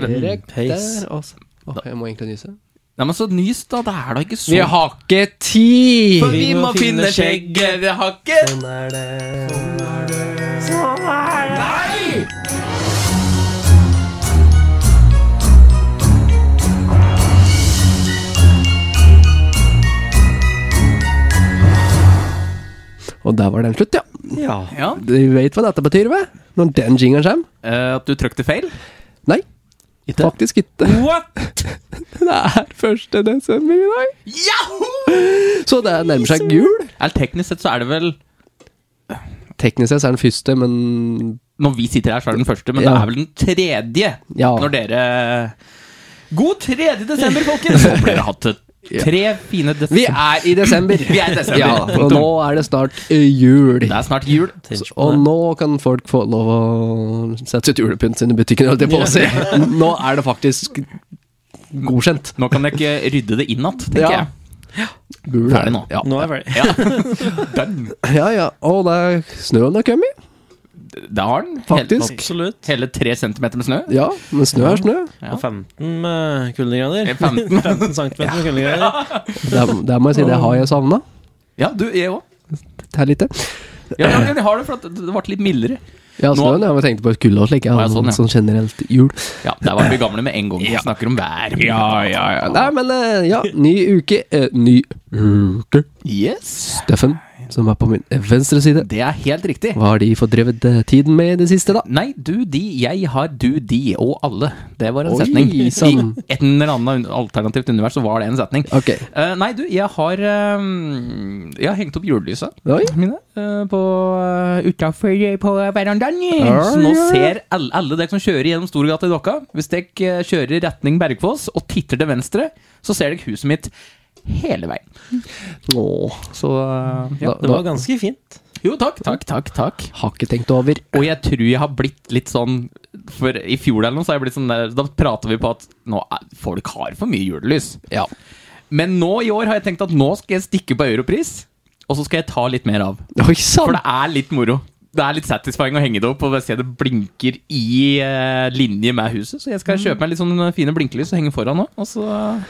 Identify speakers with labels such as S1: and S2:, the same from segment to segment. S1: Korrekt
S2: Heis.
S1: der. Altså. Åh, jeg må egentlig nyse.
S2: Nei, men så nys, da. Det er da ikke så
S1: Vi har ikke tid!
S2: For vi må finne skjegget, vi har ikke
S1: Sånn er det. Og der var den slutt, ja.
S3: Ja.
S2: Ja.
S1: Du vet hva dette betyr, vel? Når den jingeren kommer?
S2: Eh, At du trykte feil?
S1: Nei,
S2: Ikke?
S1: faktisk ikke.
S2: What?
S1: Det er 1. desember i dag.
S2: Yahoo!
S1: Så det nærmer seg jul.
S2: Eller teknisk sett så er det vel
S1: Teknisk sett så er den første, men
S2: Når vi sitter her, så er det den første, men det
S1: Ja.
S2: er vel den tredje
S1: Ja.
S2: når dere God 3. desember, folkens! Nå blir det hatt et tre fine desember.
S1: Vi er i desember.
S2: Vi er i desember.
S1: Ja, og nå er det snart eh, jul.
S2: Det er snart jul.
S3: Tenk på
S1: Og
S3: det.
S1: nå kan folk få lov å sette sitt julepynt sin i butikken, holdt jeg på å si. Nå er det faktisk godkjent.
S2: Nå kan jeg ikke rydde det inn igjen, tenker
S1: Ja. Gul
S2: Ferdig nå.
S1: Ja.
S3: Nå er jeg ferdig.
S2: jeg. Den,
S1: ja ja. Og det er snøen har kommet.
S2: det har den.
S1: Faktisk.
S3: Absolutt.
S2: Hele, hele tre centimeter med snø.
S1: Ja, men snø er snø.
S2: Ja.
S3: Og 15 med kuldegrader.
S2: Eh, 15.
S3: 15 cm med kuldegrader.
S1: Det, det må jeg si, det har jeg savna.
S2: Ja, du, jeg òg.
S1: Det er lite.
S2: Ja, ja, jeg har det, for at det ble litt mildere.
S1: Ja,
S2: Nå-
S1: snøen. ja, Jeg tenkte på et kulde og slik. Jeg
S2: Å, ja,
S1: har
S2: sånn, ja.
S1: sånn, sånn generelt jul.
S2: Ja, Der var vi gamle med en gang. Vi snakker om vær.
S1: Nei, men eh, ja. Ny uke. eh, Ny uke.
S2: Yes.
S1: Steffen, som er på min eh, venstre side.
S2: Det er helt riktig.
S1: Hva har de fordrevet eh, tiden med i det siste, da?
S2: Nei, du, de, jeg har du, de og alle. Det var en
S1: Oi, sånn.
S2: setning. I
S1: sann.
S2: et eller annet un- alternativt univers så var det en setning.
S1: Ok.
S2: Eh, nei, du, jeg har eh, Jeg har hengt opp julelyset
S1: Oi.
S2: mine eh, på uh, utafor på verandaen.
S1: Ja,
S2: så nå
S1: ja.
S2: ser alle, alle dere som kjører gjennom Storgata i Dokka Hvis dere eh, kjører retning Bergfoss og titter til venstre, så ser dere huset mitt hele veien.
S1: Åh.
S2: Så eh, ja.
S1: Da-
S3: Det var ganske fint.
S2: Jo, takk, takk, takk. takk.
S1: Har ikke tenkt over.
S2: Og jeg tror jeg har blitt litt sånn For i fjor eller noe, så har jeg blitt sånn der Da prater vi på at nå er, folk har for mye julelys.
S1: Ja.
S2: Men nå i år har jeg tenkt at nå skal jeg stikke på europris, og så skal jeg ta litt mer av.
S1: Oi
S2: For
S1: sann!
S2: det er litt moro. Det er litt satisfying å henge det opp og se det blinker i eh, linje med huset. Så jeg skal kjøpe meg litt sånne fine blinkelys og henge foran nå. Og så eh,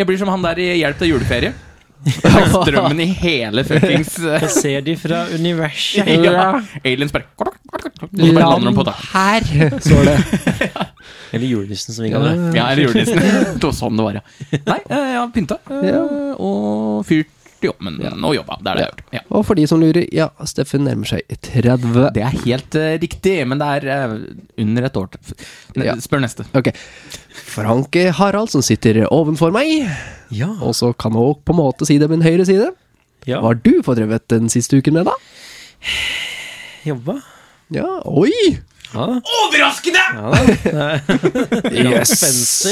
S2: Jeg blir som han der i Hjelp til juleferie. Med Strømmen i hele fuckings eh,
S3: Jeg ser de fra universet.
S2: ja. Aliens bare Og så bare lander de på taket.
S1: Her står det.
S3: Eller julenissen, som vi kaller det.
S2: Ja, eller julenissen. Det var sånn det var, ja. Nei, eh, jeg har pynta eh,
S1: Ja.
S2: og fyrt i ovnen og jobba. Det er det jeg har gjort. Ja.
S1: Og for de som lurer, ja, Steffen nærmer seg 30.
S2: Det er helt eh, riktig, men det er eh, under et år til. Ne,
S1: Ja.
S2: Spør neste.
S1: Ok. Frank Harald, som sitter ovenfor meg,
S3: Ja.
S1: og så kan òg på en måte si det min høyre side.
S3: ja.
S1: Hva har du fordrevet den siste uken med, da?
S3: Jobba.
S1: Ja, oi!
S3: Ja da.
S2: Overraskende!
S3: Ja, da.
S1: Yes!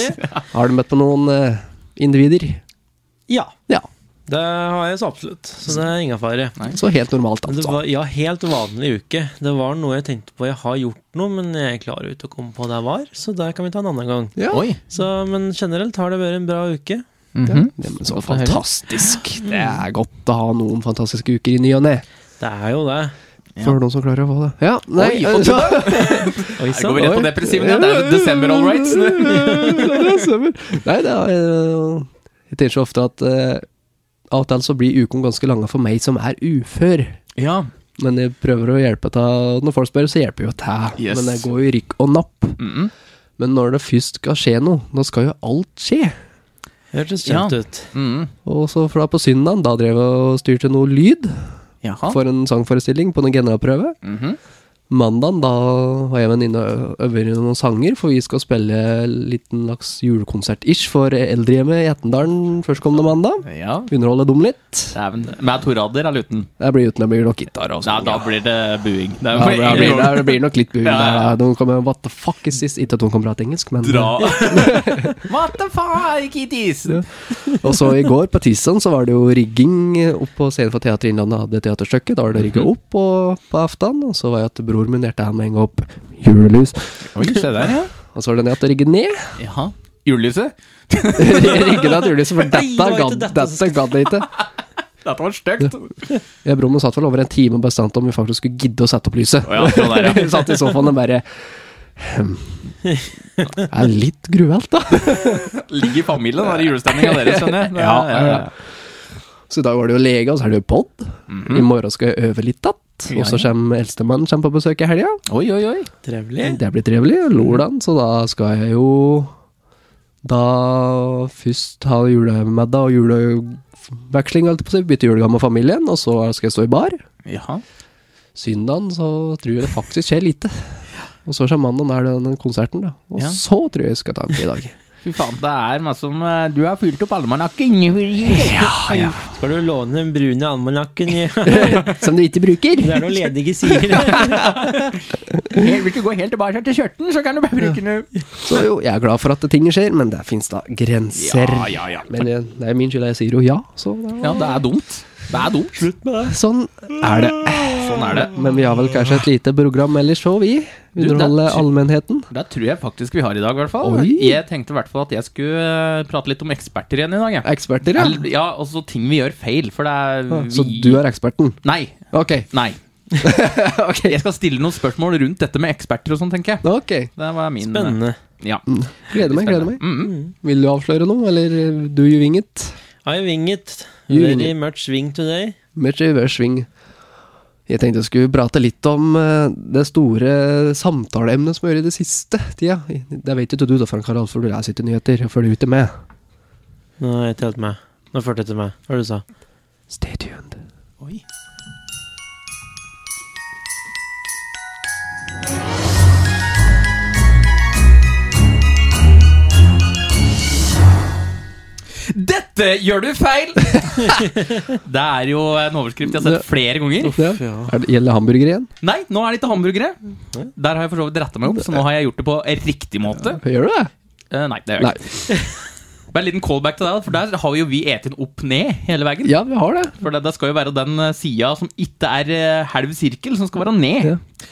S1: Har du møtt på noen eh, individer?
S3: ja.
S1: Ja.
S3: Det har jeg så absolutt. Så det er ingen fare.
S1: Så helt normalt,
S3: Men Det
S1: altså.
S3: var, ja, helt vanlig uke. Det var noe jeg tenkte på. Jeg har gjort noe, men jeg klarer jo ikke å komme på hva det var. Så der kan vi ta en annen gang.
S1: Ja.
S2: Oi.
S3: Så, men generelt har det vært en bra uke.
S2: Mhm.
S1: Ja, men så
S2: Godt å høre.
S1: fantastisk. Det er godt å ha noen fantastiske uker i ny og ne.
S3: Det er jo det.
S1: For noen som klarer å få det. Ja, nei,
S2: Oi, og du
S1: så-
S3: Oi
S2: Her går vi
S3: sann.
S2: rett på
S1: Oi.
S2: depressiven. Ja. Det er jo desember, all right.
S1: Ja, det er desember. Nei, det er eh, Jeg tenker så ofte at eh, av og til så blir ukene ganske lange for meg som er ufør.
S2: Ja.
S1: Men jeg prøver å hjelpe til. Når folk spør, så hjelper jeg jo til.
S2: Yes.
S1: Men det går jo i rykk og napp.
S2: Mhm.
S1: Men når det først skal skje noe, da skal jo alt skje.
S3: Hørtes kjent
S2: Ja.
S3: ut.
S2: Mhm.
S1: Og så fra på søndag, da drev jeg og styrte noe lyd
S2: Jaha.
S1: for en sangforestilling på noen generalprøve.
S2: Mhm.
S1: Mandagen da har jeg venninne og øver noen sanger, for vi skal spille en liten slags julekonsert-ish for eldrehjemmet i Etnedalen førstkommende mandag.
S2: Ja.
S1: Underholde dem litt.
S2: Dæven. Med torader eller uten?
S1: Det blir uten det blir nok gitar og
S2: Nei,
S1: sånn.
S2: da blir det buing. Det er
S1: Ja, det blir,
S2: jo
S1: det blir nok litt buing.
S2: Ja, ja, ja.
S1: der. De kommer What the fuck is this? Ikke at de kan prate engelsk, men
S2: Dra. What the fuck, kitties?
S1: Og så i går, på tirsdag, så var det jo rigging opp på scenen for Teater Innlandet. Hadde teaterstykket. Da var det
S2: Mhm.
S1: rigget opp og, på aften. Og så var jeg at bror min hjertet her med en gang opp julelys.
S2: Oi, se der, ja.
S1: Og så var det ned at rigge ned.
S2: Jaha. Julelyset?
S1: Rigge ned julelyset, for
S3: Nei, det
S1: dette
S3: var ikke
S1: gadd
S3: dette
S1: dette gadd jeg ikke.
S2: Dette var stygt.
S1: Jeg og broren satt vel over en time og bestemte om vi faktisk skulle gidde å sette opp lyset.
S2: ja, sånn er det.
S1: Vi satt i sofaen og bare Det er litt gruelt, da.
S2: Ligger i familien, da, i julestemninga deres, skjønner jeg.
S1: Ja, ja, ja. Så i dag var det jo lege, og så er det jo pod. I morgen skal jeg øve litt att. Og så kommer eldstemann kommer på besøk i helga.
S2: Oi, oi, oi.
S3: Trevelig.
S1: Det blir trivelig. Lordan, så da skal jeg jo Da først ha julemiddag og juleveksling, holdt jeg på å si. Bytte julegave med familien, og så skal jeg stå i bar.
S2: Jaha.
S1: Søndagen så tror jeg det faktisk skjer lite. Og så kommer mandagen, er det den konserten, da. Og
S2: Ja.
S1: så tror jeg jeg skal ta en fridag.
S2: Fy faen, det er masse som eh, Du har fylt opp almanakken!
S1: Ja, ja.
S3: Skal du låne den brune almanakken? i-
S1: Som du ikke bruker.
S3: Det er noen ledige sider.
S2: Helt- Hvis du går helt tilbake til kjørten, så kan du bare bruke den.
S1: Så jo, jeg er glad for at ting skjer, men det fins da grenser.
S2: Ja, ja, ja.
S1: Men det, det er min skyld, jeg sier jo ja, så da,
S2: Ja, det er dumt. Det er dumt.
S3: Slutt med det.
S1: Sånn er det.
S2: Sånn er det.
S1: Men vi har vel kanskje et lite program ellers òg, vi.
S2: Du, det er-
S1: Underholde allmennheten.
S2: Det tror jeg faktisk vi har i dag, i hvert fall.
S1: Oi.
S2: Jeg tenkte i hvert fall at jeg skulle eh, prate litt om eksperter igjen i dag. Jeg.
S1: Eksperter, ja.
S2: Eller- Ja, altså ting vi gjør feil, for det er vi...
S1: Så du er eksperten?
S2: Nei.
S1: Ok.
S2: Nei. Jeg skal stille noen spørsmål rundt dette med eksperter og sånn, tenker jeg.
S1: Ok.
S2: Det var min
S3: Spennende.
S2: Ja.
S1: Gleder meg, gleder meg.
S2: Mm, mm.
S1: Vil du avsløre noe, eller do you wing it?
S3: I wing it.
S1: You wing
S3: Very much wing today.
S1: Much i hver sving. Jeg tenkte jeg skulle prate litt om eh, det store samtaleemnet som har vært i det siste tida. Det vet ikke du da, Frank Harald, for du leser ikke nyheter og følger ikke med.
S3: Nå har jeg telt meg. Nå førte jeg til meg. Hva var det du sa?
S1: Stay tuned.
S2: Oi. Dette gjør du feil! det er jo en overskrift jeg har sett
S1: Det-
S2: flere ganger.
S1: Ja. Er det, gjelder det hamburger igjen?
S2: Nei, nå er det ikke hamburgere. Der har jeg for så vidt retta meg opp, så nå har jeg gjort det på riktig måte.
S1: Gjør du det?
S2: Eh, nei, det gjør jeg
S1: Nei.
S2: ikke. Bare en liten callback til deg, for der har jo vi eten opp ned hele veien.
S1: Ja, vi har det.
S2: For det, det skal jo være den eh, sida som ikke er eh, halv sirkel, som skal være ned.
S1: Ja.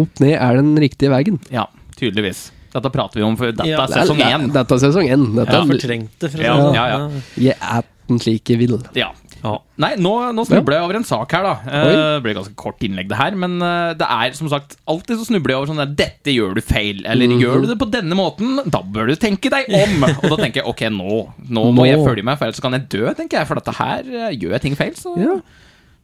S1: Opp ned er den riktige veien.
S2: Ja, tydeligvis. Dette prater vi om før. Dette
S3: Ja,
S2: er sesong én.
S1: Dette er sesong én. Dette
S3: Jeg
S1: er-
S3: fortrengte fra
S2: Ja,
S3: sånn.
S2: ja, ja.
S1: Jeg er den slik jeg vil.
S2: Ja.
S3: Ja.
S2: Nei, nå, nå snubler jeg over en sak her, da. Eh, Det blir ganske kort innlegg, det her. Men eh, det er som sagt alltid så snubler jeg over sånn der 'Dette gjør du feil', eller 'Gjør du det på denne måten', da bør du tenke deg om. Og da tenker jeg ok, nå, nå må
S1: Nå.
S2: jeg følge meg, for ellers så kan jeg dø, tenker jeg. For dette her eh, gjør jeg ting feil, så
S1: Ja.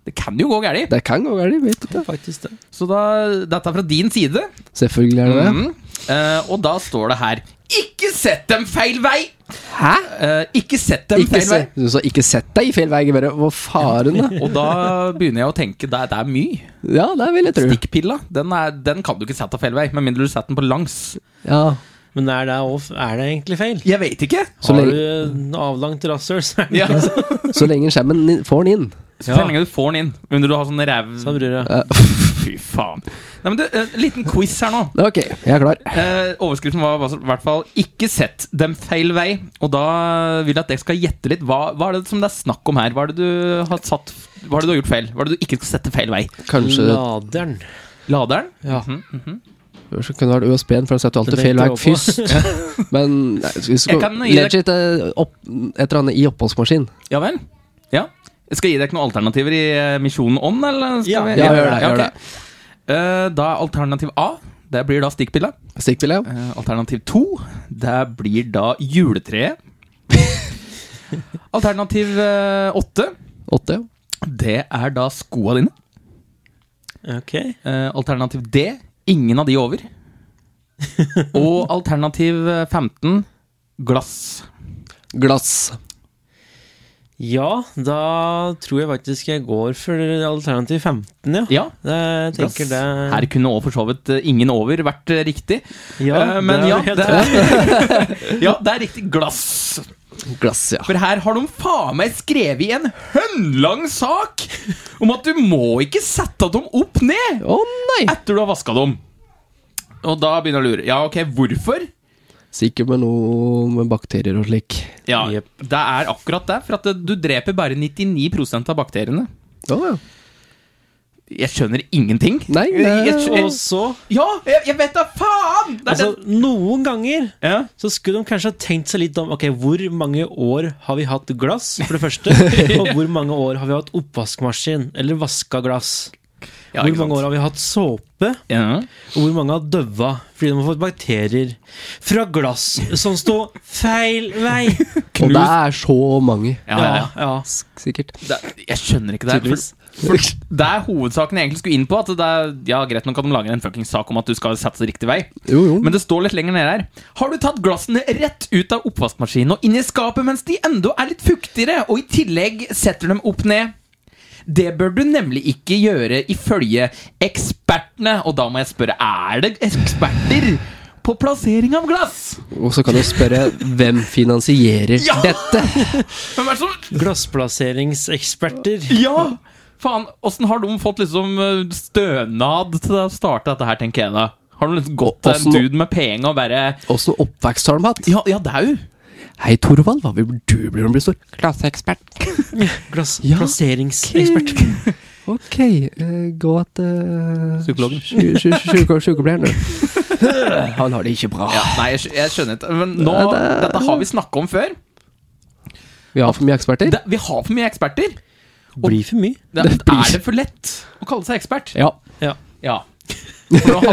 S2: det kan jo gå galt.
S1: Det kan gå galt, vet du.
S3: Det er faktisk det.
S2: Så da, dette er fra din side.
S1: Selvfølgelig er det det.
S2: Mhm. Eh, og da står det her Ikke sett dem feil vei! Hæ? ikke sett dem
S1: Ikke
S2: feil
S1: se,
S2: vei.
S1: du sa 'ikke sett deg i feil vei', bare hva faren, da?
S2: Og da begynner jeg å tenke det, det er mye.
S1: Ja, det vil jeg tro.
S2: Stikkpilla den, er, den kan du ikke sette feil vei, med mindre du setter den på langs.
S1: Ja.
S3: Men er det, off, er det egentlig feil?
S2: Jeg vet ikke.
S1: Så
S3: har
S1: lenge,
S3: du avlangt rasshøl, så er det
S2: Ja. Så
S1: så lenge skjermen inn- får den inn.
S2: så lenge du får den inn. Under du har sånn
S3: Da
S2: ræv...
S3: bryr jeg
S1: Ja.
S2: Fy faen. Nei, men du, en liten quiz her nå.
S1: Ok, jeg er klar.
S2: Eh, overskriften var i hvert fall 'Ikke sett dem feil vei'. Og da vil jeg at dere skal gjette litt. Hva, hva er det som det er snakk om her? Hva er det du har, satt, hva er det du har gjort feil? Hva er det du ikke skal sette feil vei?
S1: Kanskje
S3: Laderen.
S2: Laderen?
S3: Ja.
S2: Mhm, mhm.
S1: så kunne det vært USB-en, for den setter jo alltid
S3: Det
S1: feil vei
S3: tenkte jeg også
S1: først. Men nei, vi skal
S2: Jeg kan gi deg-
S1: legit eh, opp, et eller annet i oppholdsmaskin.
S2: Ja vel? Ja. Skal jeg gi dere noen alternativer i eh, Misjonen On, eller? Skal
S3: Ja.
S2: vi?
S1: Ja, gjør det, gjør
S2: ok.
S1: det.
S2: Eh, da er alternativ A Det blir da stikkpilla.
S1: Stikkpille, ja.
S2: Eh, alternativ to Det blir da juletreet. alternativ eh, åtte
S1: Åtte, ja.
S2: Det er da skoa dine.
S3: Ok.
S2: Eh, alternativ D ingen av de over. Og alternativ eh, 15 glass.
S1: Glass.
S3: Ja, da tror jeg faktisk jeg går for alternativ 15, ja.
S2: Ja.
S3: Det, jeg
S2: Glass.
S3: tenker det
S2: Her kunne også for så vidt eh, ingen over vært eh, riktig.
S3: Ja,
S2: Eh, men
S3: det er
S2: ja,
S3: helt
S2: det er, ja, det er riktig glass.
S1: Glass, ja.
S2: For her har de faen meg skrevet i en hønlang sak om at du må ikke sette dem opp ned
S1: Å nei!
S2: etter du har vaska dem. Og da begynner jeg å lure. Ja, ok, hvorfor?
S1: Sikkert med noe med bakterier og slik.
S2: Ja,
S3: Jep.
S2: Det er akkurat det. For at eh, du dreper bare 99 av bakteriene.
S1: Ja, ja.
S2: Jeg skjønner ingenting.
S1: Nei,
S2: jeg,
S1: det-
S2: jeg,
S3: Og
S2: jeg,
S3: så
S2: ja, jeg, jeg vet da faen! Det er
S3: Altså,
S2: den-
S3: noen ganger
S2: ja.
S3: så skulle de kanskje ha tenkt seg litt om Ok, hvor mange år har vi hatt glass, for det første? Og hvor mange år har vi hatt oppvaskmaskin? Eller vaska glass?
S2: Ja,
S3: hvor
S2: ikke sant.
S3: mange år har vi hatt såpe?
S2: Ja.
S3: Og hvor mange har døva fordi de har fått bakterier fra glass som står feil vei?
S1: Og det er så mange,
S2: Ja, ja, ja.
S3: ja.
S1: sikkert.
S2: Det, jeg skjønner ikke det. her,
S3: Tydeligvis.
S2: For, for det er hovedsaken jeg egentlig skulle inn på. At det er, ja, Greit nok at de lager en fuckings sak om at du skal satse riktig vei,
S1: Jo, jo.
S2: men det står litt lenger nede her. Har du tatt glassene rett ut av oppvaskmaskinen og inn i skapet mens de enda er litt fuktigere, og i tillegg setter dem opp ned? Det bør du nemlig ikke gjøre ifølge ekspertene. Og da må jeg spørre, er det eksperter på plassering av glass?
S1: Og så kan du spørre hvem finansierer
S2: Ja!
S1: dette?
S2: Hvem er det som
S3: Glassplasseringseksperter.
S2: Ja! Faen, åssen har de fått liksom eh, stønad til å starte dette her, tenker jeg da? Har de liksom gått til en
S1: Åssen-
S2: dude med penger og bare
S1: Åssen oppvekst har de hatt?
S2: Ja, ja, dau!
S1: Hei, Torvald, hva vil du bli når du blir stor? Klasseekspert. Ja.
S3: Glassplasseringsekspert.
S1: Ok, eh, gå til
S2: Psykologen.
S1: Sykepleieren, du. Han har det ikke bra.
S2: Ja, nei, jeg, skj- jeg skjønner ikke. Men nå,
S1: Det er-
S2: dette har vi snakka om før.
S1: Vi har for mye eksperter.
S2: Det, vi har for mye eksperter.
S3: Blir for mye.
S2: Det,
S1: Det blir-
S2: er det for lett å kalle seg ekspert?
S1: Ja.
S3: Ja.
S2: Ja. Når du har,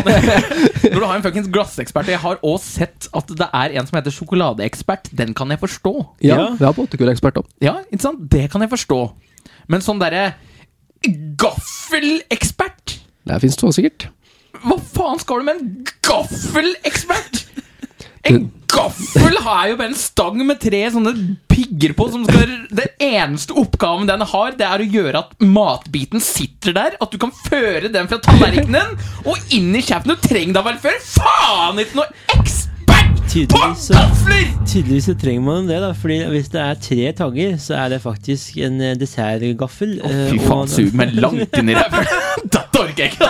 S2: når du har en fuckings glassekspert Jeg har òg sett at det er en som heter sjokoladeekspert. Den kan jeg forstå.
S1: ja,
S3: Ja.
S1: Vi har båtekurekspert òg.
S2: Ja, ikke sant? Det kan jeg forstå. Men sånn derre gaffelekspert?
S1: Der fins det òg, sikkert.
S2: Hva faen skal du med en gaffelekspert? En gaffel har jo bare en stang med tre sånne pigger på som skal Den eneste oppgaven den har, det er å gjøre at matbiten sitter der. At du kan føre den fra tallerkenen din og inn i kjeften. Du trenger da vel før faen ikke noe ekspert på
S3: Tydeligvis så-
S2: gafler!
S3: Tydeligvis så trenger man det, da. Fordi hvis det er tre tagger, så er det faktisk en eh, dessertgaffel. eh,
S2: Fy faen,
S3: og-
S2: sug meg langt inn i ræva. Dette orker jeg ikke.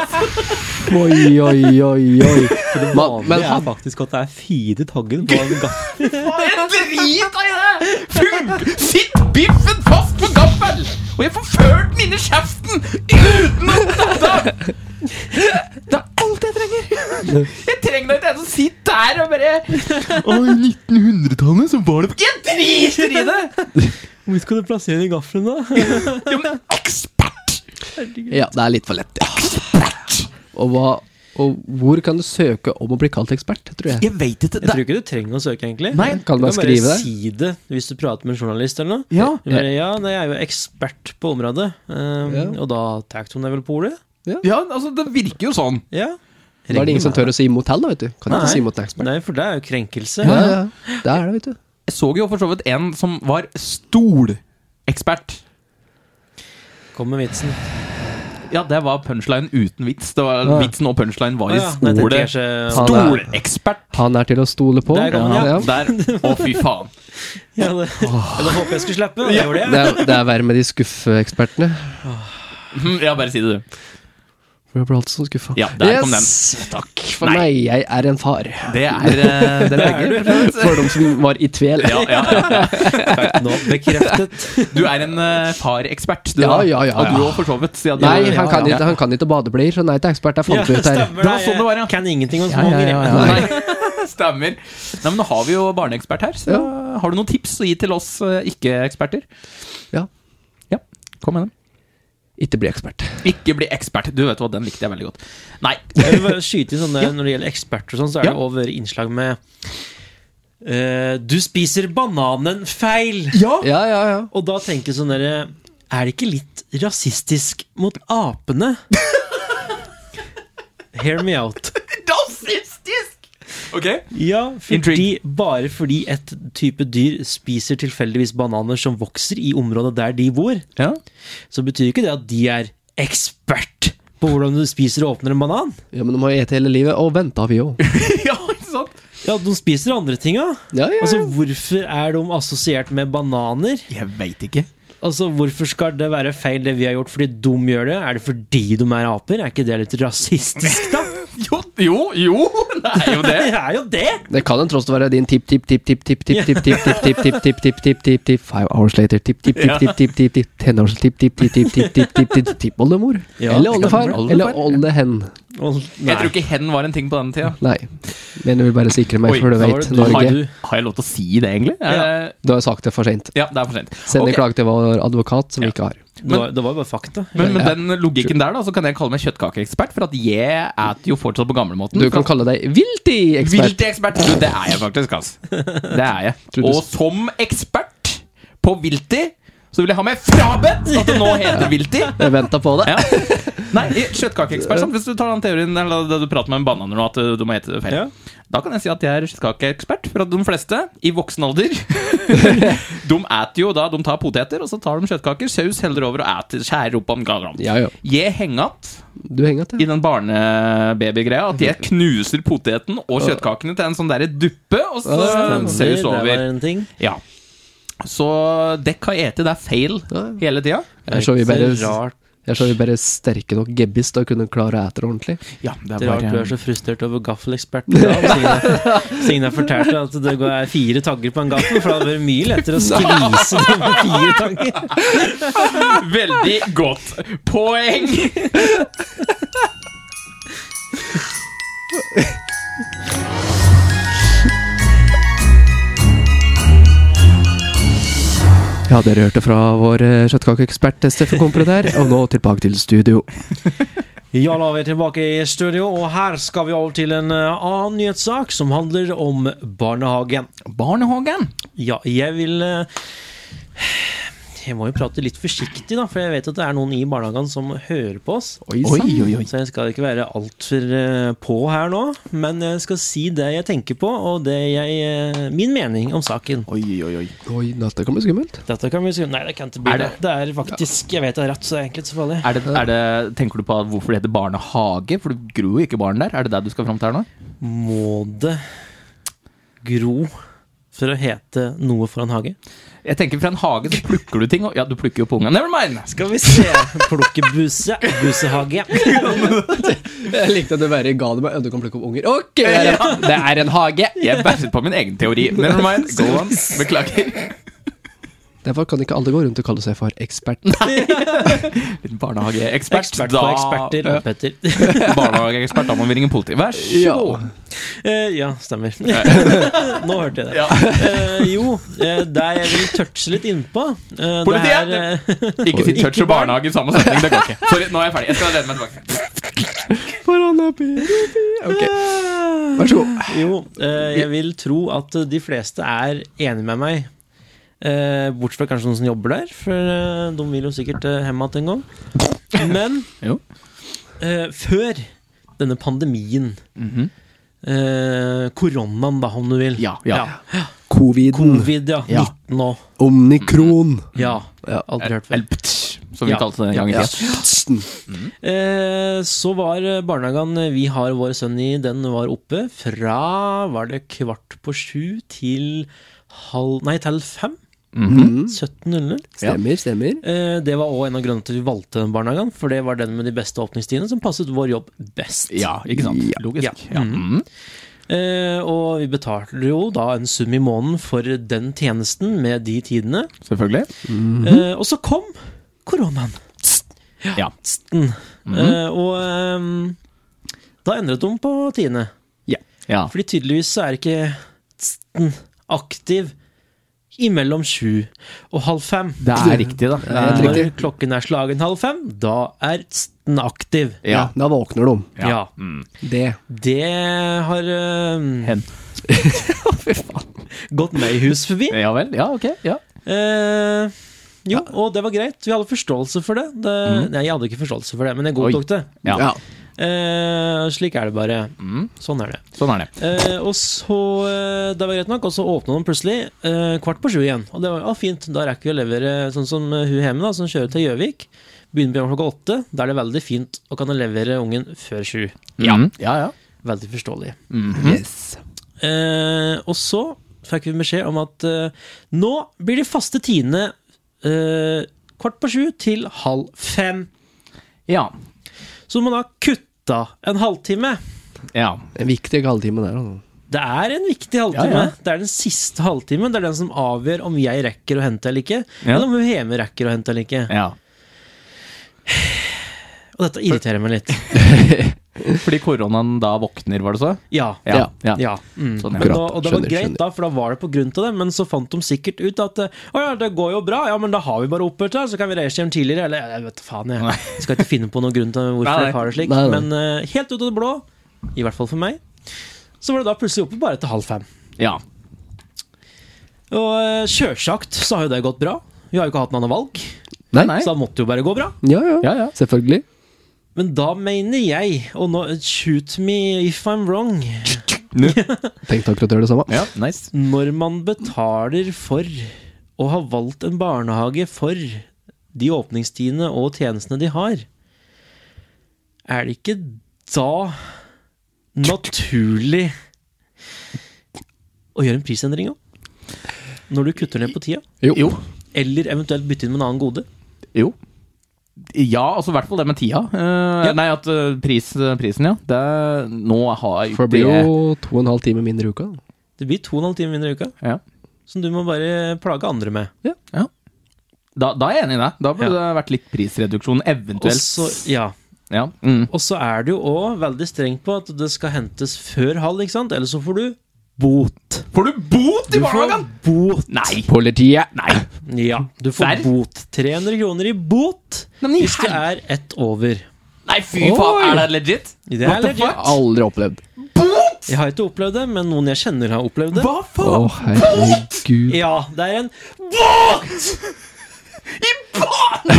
S1: Oi, oi, oi, oi. Men,
S3: Det
S1: men
S3: er
S1: han,
S3: faktisk at det er fire tagger på en gaffel.
S2: Jeg driter i det! Fugl! Sitt biffen fast på gaffel! Og jeg får ført den inn i kjeften uten å dette! Det er alt jeg trenger. Jeg trenger da ikke en som sitter der og bare Å, i 1900-tallet så var det Jeg driter i det!
S3: Hvor skal du plassere den gaffelen, da?
S2: Jo, men ekspert!
S1: ja, det er litt for lett, ja. Og, hva, og hvor kan du søke om å bli kalt ekspert, tror jeg?
S2: Jeg veit ikke.
S3: Jeg tror ikke du trenger å søke, egentlig.
S2: Nei,
S1: Kan du
S3: du
S1: bare
S3: kan bare
S1: skrive det?
S3: si det hvis du prater med en journalist eller noe.
S2: ja.
S3: Du Bare, ja, nei, jeg er jo ekspert på området, um,
S1: Ja.
S3: og da tar hun deg vel på ordet?
S2: ja, altså, det virker jo sånn.
S3: Ja.
S1: Da er det ingen som tør å si imot heller, vet du. Kan
S3: Nei.
S1: ikke si imot en ekspert.
S3: Nei, for det er jo krenkelse.
S1: Ja, ja, ja. Det er det, vet du.
S2: Jeg så jo for så vidt en som var stolekspert.
S3: Kom med vitsen.
S2: Ja, det var punchline uten vits. Det var,
S1: Ja.
S2: Vitsen og punchline var
S3: Å
S2: i
S3: ja, nei, det
S2: skole.
S3: er kanskje-
S1: Han er-
S2: Stolekspert!
S1: Han er til å stole på.
S3: Der kom
S1: ja.
S3: han,
S2: Ja,
S1: Ja.
S2: der. Å, fy faen.
S3: Ja, det, ja, det håper jeg skulle slippe. og Det gjorde
S1: Det,
S3: jeg.
S1: er, det er verre med de skuffeekspertene.
S2: Hm, Ja, bare si det, du.
S1: For jeg blir alltid så skuffa.
S2: Ja, der kom
S1: yes! Takk for
S2: Nei.
S1: meg, jeg er en far.
S2: Det er eh, Det er begge. for så vidt.
S1: For de som var i tvil.
S2: Ja, ja, ja.
S3: Nå bekreftet.
S2: Du er en eh, farekspert, du
S1: Ja,
S2: da.
S1: ja, ja,
S2: Og du
S1: ja.
S2: òg, for så vidt. siden du-
S1: Nei, han kan,
S2: ja,
S1: ikke, han kan ikke badebleier, så nei til ekspert. Jeg
S3: Ja,
S1: fant ut her.
S2: Det var sånn det var, ja.
S3: Jeg Kan ingenting om
S1: Ja, ja,
S3: småunger.
S1: ja,
S2: ja.
S1: ja.
S3: jeg.
S2: Nei, stemmer. Nei, men nå har vi jo barneekspert her, så har du noen tips å gi til oss eh, ikke-eksperter?
S1: Ja.
S2: Ja, kom med dem.
S1: Ikke bli ekspert.
S2: Ikke bli ekspert. Du vet hva, den likte jeg veldig godt. Nei,
S3: Jeg vil bare skyte i sånne Når det gjelder eksperter og sånn, så er det
S2: Ja.
S3: over innslag med eh, Du spiser bananen feil!
S1: Ja, ja, ja.
S3: Og da tenker jeg sånn derre Er det ikke litt rasistisk mot apene? Hear me out.
S2: rasistisk! Ok.
S3: Ja, fordi,
S2: Intrigue.
S3: bare fordi et type dyr spiser tilfeldigvis bananer som vokser i området der de bor,
S2: Ja.
S3: så betyr ikke det at de er ekspert på hvordan du spiser og åpner en banan.
S1: ja men de må jo ete hele livet. Og venta vi òg.
S2: ja, ikke sant?
S3: Ja, de spiser andre ting, ja.
S1: Ja, ja,
S3: Altså,
S1: ja.
S3: hvorfor er de assosiert med bananer?
S2: Jeg veit ikke.
S3: Altså, Hvorfor skal det være feil det vi har gjort fordi de gjør det? Er det fordi de er aper? Er ikke det litt rasistisk, da?
S2: Jo, jo, jo! Det er jo det.
S3: Det er jo det!
S1: Det kan en trost være din tipp, tipp, tipp, tipp, tipp, tipp, tipp, tipp, tipp, tipp, tipp, tipp, tipp, tipp, tipp, tipp, five hours later, tipp, tipp, tipp, tipp, tipp, tipp, tipp, ten hours, tipp, tipp, tipp, tipp, tipp, tipp, tipp, tipp, tipp, oldemor.
S3: Ja,
S1: Eller oldefar.
S2: oldefar.
S1: Eller oldehen.
S3: Og,
S2: Jeg tror ikke hen var en ting på den tida.
S1: Nei. Men jeg vil bare sikre meg,
S2: Oi,
S1: for du
S3: da var
S1: vet
S3: det du.
S1: Norge.
S3: Har du-
S2: Har jeg lov til å si det, egentlig?
S3: Ja.
S2: Ja,
S1: Du har jo sagt det for seint.
S2: ja det er for sent.
S1: Send en
S2: Ok.
S1: klage til vår advokat, som vi ikke har.
S3: Det var, det var bare fakta.
S2: Men med den logikken der, da, så kan jeg kalle meg kjøttkakeekspert, for at jeg spiser jo fortsatt på gamlemåten.
S1: Du kan kalle deg vilti-ekspert.
S2: Viltekspert! Du, det er jeg faktisk, ass. Det er jeg.
S1: Tror du-
S2: Og som ekspert på vilti, så vil jeg ha meg frabedt at det nå heter vilti.
S1: Jeg venta på det.
S2: Ja. Nei, i- kjøttkakeekspert. sant? Hvis du tar den teorien eller det du prater med en bananer nå, at uh, du må hete det feil,
S3: Ja.
S2: da kan jeg si at jeg er kjøttkakeekspert. For at de fleste i voksen alder De eter jo da De tar poteter, og så tar de kjøttkaker, saus heller over og eter, skjærer opp om galant.
S1: Ja, ja.
S2: Jeg henger att
S1: Du henger til.
S2: i den barnebabygreia at jeg knuser poteten og kjøttkakene til en sånn derre duppe, og så
S1: Stemmer,
S2: saus
S3: Det
S2: over.
S3: var en ting.
S2: Ja. Så dekk har ete, det er feil
S1: Ja.
S2: hele tida.
S1: Jeg er så vi bare,
S3: så rart,
S1: jeg er så vi bare sterke nok gebbis til å kunne klare å ete det ordentlig.
S2: Ja, det
S3: det er rart du er så frustrert over gaffeleksperten. i dag, Siden siden jeg fortalte at det går- er fire tagger på en gaffel, for da hadde det vært mye lettere å skvise det med fire tagger.
S2: Veldig godt poeng!
S1: Ja, dere hørte fra vår eh, kjøttkakeekspert Steffen Komplet der, og nå tilbake til studio.
S3: Ja, da er vi tilbake i studio, og her skal vi over til en eh, annen nyhetssak som handler om barnehagen.
S2: Barnehagen.
S3: Ja, jeg vil eh, Jeg må jo prate litt forsiktig, da, for jeg vet at det er noen i barnehagen som hører på oss.
S1: Oi,
S2: sann.
S1: oi, oi.
S3: Så jeg skal ikke være altfor eh, på her nå, men jeg skal si det jeg tenker på, og det jeg eh, Min mening om saken.
S2: Oi, oi, oi.
S1: Oi, dette kan bli skummelt.
S3: Dette kan vi si Nei, det kan ikke bli
S2: Er
S3: det.
S2: det-
S3: Det er faktisk Jeg vet det er rett, så det er egentlig ikke så farlig.
S2: Er det, er det, tenker du på hvorfor det heter barnehage? For du gror jo ikke barn der. Er det det du skal fram til her nå?
S3: Må det gro for å hete noe for en hage?
S2: Jeg tenker Fra en hage så plukker du ting. Og, ja, du plukker jo på ungene. Never mind!
S3: Skal vi se. Plukkebuse. Busehage.
S1: Jeg likte at du bare ga det meg Du kan plukke opp unger. Ok, det er en, det er en hage!
S2: Jeg bæsjet på min egen teori. Never mind. Go on. Beklager.
S1: Derfor kan ikke alle gå rundt og kalle seg for ekspert.
S2: Liten barnehageekspert.
S3: Ekspert på eksperter.
S2: Da,
S3: Petter.
S2: barnehageekspert, da må vi ringe politiet. Vær så
S1: Ja.
S2: god.
S3: Eh, ja, stemmer. Nå hørte jeg det.
S2: Ja.
S3: Eh, jo, eh, der jeg vil touche litt innpå eh,
S2: Politiet!
S3: Det er, eh,
S2: Ikke si
S3: Ikke
S2: touch og
S3: barn.
S2: barnehage i samme setning. Det går ikke. Sorry, nå er jeg ferdig. Jeg skal lede meg tilbake.
S1: Ok, Vær så god.
S3: jo, eh, jeg vil tro at de fleste er enig med meg. Eh, bortsett fra kanskje noen som jobber der, for eh, de vil jo sikkert eh, hjem igjen en gang. Men
S2: Jo.
S3: eh, før denne pandemien,
S2: Mhm.
S3: eh, koronaen, da, om du vil
S2: Ja, ja.
S1: Coviden.
S3: Covid, ja.
S1: Ja.
S3: 19 nå.
S1: Omnikron.
S3: Ja.
S1: Ja.
S3: Aldri hørt før.
S2: Elpt, som vi
S3: Ja.
S2: kalte det en gang i
S1: Ja.
S2: tida.
S3: Eh, så var barnehagen eh, vi har vår sønn i, den var oppe fra var det kvart på sju til halv Nei, til fem.
S1: Mhm.
S3: 17.00.
S1: Stemmer, stemmer.
S3: Eh, det var òg en av grunnene til at vi valgte den barnehagen, for det var den med de beste åpningstidene som passet vår jobb best.
S2: Ja, ikke sant?
S1: Ja.
S2: Logisk. Ja. Mm.
S3: Eh, og vi betalte jo da en sum i måneden for den tjenesten med de tidene.
S2: Selvfølgelig.
S3: Eh, og så kom koronaen.
S2: Ja.
S3: Mm.
S1: Mhm.
S3: Eh, og ehm, da endret de på tidene.
S2: ja.
S3: Fordi tydeligvis så er ikke tsten aktiv imellom sju og halv fem.
S2: Det er riktig, da. Det
S1: helt
S2: er
S1: riktig.
S3: Når klokken er slagen halv fem, da er tsten aktiv.
S1: Ja,
S2: Ja.
S1: da våkner de.
S3: Ja.
S2: Mm.
S1: Det.
S3: Det har øhm,
S2: Hen.
S3: gått meg i hus forbi.
S2: Ja vel. Ja, ok. Ja.
S3: Eh, jo, og det var greit. Vi hadde forståelse for det. det
S1: Mm.
S3: Nei, jeg hadde ikke forståelse for det, men jeg godtok det.
S2: Ja.
S1: Ja.
S3: Eh, slik er det bare.
S1: Mm.
S3: Sånn er det.
S2: Sånn er det.
S3: Eh, og så eh, Det var greit nok, og så åpna de plutselig eh, kvart på sju igjen. Og det var ja, fint, da rekker vi å levere sånn som eh, hun hjemme, da, som kjører til Gjøvik. Begynner på klokka åtte. Da er det veldig fint å kan levere ungen før sju.
S2: Ja. Ja, ja.
S3: Veldig forståelig.
S1: Yes.
S3: Eh, og så fikk vi beskjed om at eh, nå blir de faste tidene eh, kvart på sju til halv fem.
S2: Ja.
S3: Så man har kutta en halvtime.
S2: ja.
S1: En viktig halvtime der. altså.
S3: Det er en viktig halvtime.
S2: Ja, ja.
S3: Det er den siste halvtimen. Det er den som avgjør om jeg rekker å hente eller ikke.
S2: Ja.
S3: Eller om hun hjemme rekker å hente eller ikke.
S2: ja.
S3: Og dette irriterer meg litt.
S2: Fordi koronaen da våkner, var det så?
S3: Ja.
S1: Ja.
S2: ja.
S3: ja. Mm.
S2: Sånn, ja.
S3: Men,
S1: Akkurat.
S3: og, og det var
S1: Skjønner,
S3: greit,
S1: skjønner.
S3: da, for da var det på grunn til det. Men så fant de sikkert ut at eh, Å ja, det går jo bra, ja, men da har vi bare opphørt her, så kan vi reise hjem tidligere. Eller jeg vet da faen, jeg. jeg skal ikke finne på noen grunn til
S2: Nei,
S3: hvorfor
S2: nei.
S3: jeg har det slik.
S1: Nei, nei.
S3: Men eh, helt ut av det blå, i hvert fall for meg, så var det da plutselig oppe bare etter halv fem.
S2: ja.
S3: Og uh, sjølsagt så har jo det gått bra. Vi har jo ikke hatt noe annet valg,
S1: Nei?
S2: Nei.
S3: så da måtte det jo bare gå bra.
S1: Ja, ja,
S2: Ja, ja.
S1: Selvfølgelig.
S3: Men da mener jeg, og nå shoot me if I'm wrong
S1: Tenkte akkurat å gjøre det samme.
S2: ja nice.
S3: Når man betaler for å ha valgt en barnehage for de åpningstidene og tjenestene de har, er det ikke da naturlig å gjøre en prisendring òg? Når du kutter ned på tida?
S1: Jo.
S2: Jo.
S3: Eller eventuelt bytte inn med en annen gode?
S2: Jo. Ja, altså i hvert fall det med tida. Eh, Nei, at eh, pris, prisen, ja. Det, nå har
S1: For det blir jo to og en halv time mindre i uka.
S3: Det blir to og en halv time mindre i uka,
S2: ja.
S3: som du må bare plage andre med.
S2: ja. Da, da er jeg enig i deg. Da burde det vært litt prisreduksjon,
S3: Og
S2: eventuelt.
S3: så, ja,
S2: Ja. Mm.
S3: Og så er det jo òg veldig strengt på at det skal hentes før halv, ikke sant? Eller så får du bot.
S2: Får du bot
S3: Du
S2: i
S3: får
S2: barnehagen?!
S3: bot.
S2: Nei!
S1: Politiet!
S2: Nei.
S3: Ja, du får
S2: Der.
S3: bot. 300 kroner i bot
S2: Nei, men i
S3: hvis det
S2: hel-
S3: er ett over.
S2: Nei, fy faen,
S1: Oi.
S2: er det legit?
S3: Det er
S2: What the
S3: legit.
S2: fuck?
S1: Aldri opplevd.
S2: Bot?!
S3: Jeg har ikke opplevd det, men noen jeg kjenner har opplevd det.
S2: Hva
S1: Å,
S2: faen?
S1: herregud.
S3: Ja, det er en
S2: Bot! I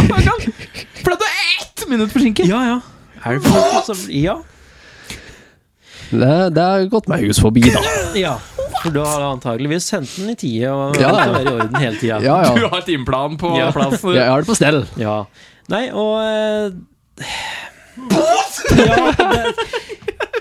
S2: barnehagen! Ble du ett minutt forsinket?
S3: Ja, ja. Er det bot? som- Ja.
S1: Det, det har gått meg hus forbi, da.
S3: ja. For da har du antageligvis sendt den i tide og
S1: Ja,
S3: ja,
S1: ja.
S3: være i orden hele tida.
S1: Ja,
S2: Du
S1: ja.
S2: har timeplan på
S3: Ja.
S2: plass.
S1: Jeg har det på stell.
S3: Ja. Nei, og eh, Ja, det,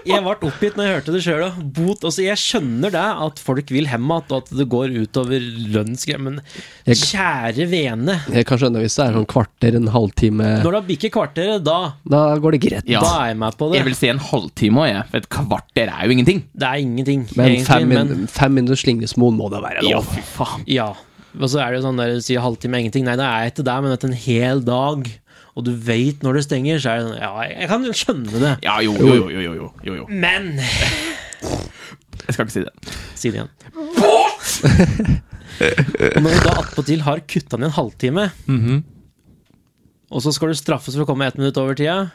S3: jeg ble oppgitt når jeg hørte det sjøl. Bot. Altså, jeg skjønner det, at folk vil hjem igjen, og at det går utover lønnsgreier, men
S1: Jeg-
S3: kjære vene.
S1: Jeg kan skjønne hvis det er sånn kvarter, en halvtime
S3: Når det bikker kvarteret, da,
S1: Da går det greit.
S2: Ja.
S3: da er jeg med på det.
S2: Jeg vil si en halvtime òg, jeg. For et kvarter er jo ingenting.
S3: Det er ingenting,
S1: Men
S3: egentlig,
S1: fem, min
S3: men
S1: fem minutter slingresmoen må da være
S2: Ja,
S1: lov.
S2: fy faen.
S3: ja. Og så er det jo sånn der sier halvtime er ingenting. Nei, det er ikke det, men etter en hel dag, og du veit når det stenger, så er det sånn Ja, jeg kan jo skjønne det,
S2: Ja, jo, jo, jo, jo, jo, jo, jo.
S3: men
S2: Jeg skal ikke si det.
S3: Si det igjen. Og Når du da attpåtil har kutta ned en halvtime,
S2: Mhm.
S3: og så skal du straffes for å komme ett minutt over tida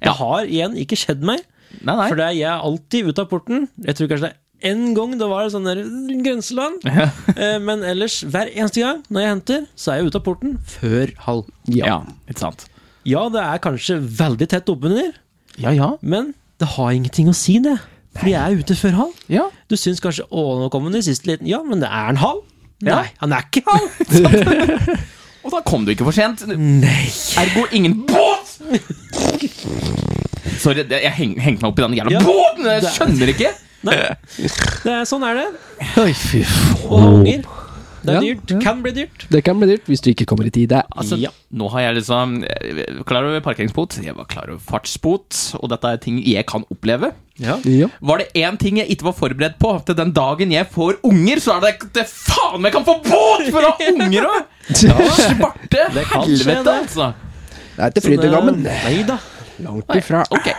S3: Det
S2: Ja.
S3: har igjen ikke skjedd meg,
S2: Nei, nei.
S3: for det er jeg alltid ute av porten. Jeg tror kanskje det er én gang det var sånn der grenseland, Eh, men ellers hver eneste gang når jeg henter, så er jeg ute av porten før halv.
S1: Ja.
S2: Ja, ikke sant.
S3: Ja, det er kanskje veldig tett oppunder,
S2: Ja, ja.
S3: men det har ingenting å si, det. For jeg er ute før halv.
S2: Ja,
S3: Du syns kanskje 'Å, nå kom hun i siste liten'. Ja, men det er en halv.
S2: Ja.
S3: Nei, han er ikke halv.
S2: Og da kom du ikke for sent.
S3: Nei.
S2: Ergo ingen båt! Sorry, det- jeg heng, hengte meg opp i den jævla
S3: Ja.
S2: båten! Jeg skjønner ikke!
S3: Det er, sånn er det.
S1: Oi, fy faen.
S3: Å ha unger. Det er
S1: Ja,
S3: dyrt.
S1: ja.
S3: Kan bli dyrt.
S1: Det kan bli dyrt hvis du ikke kommer i tide.
S2: Altså,
S3: Ja.
S2: Nå har jeg liksom jeg var Klar over parkeringsbot, jeg var klar over fartsbot, og dette er ting jeg kan oppleve.
S3: Ja.
S1: Ja.
S2: Var det én ting jeg ikke var forberedt på til den dagen jeg får unger, så er det ikke det faen meg kan få båt for å ha unger òg! Svarte
S3: Det kan skje,
S2: helvete,
S3: det.
S2: altså!
S1: Det er ikke fryd og gammen.
S3: Nei da.
S1: Langt ifra.
S2: Ok.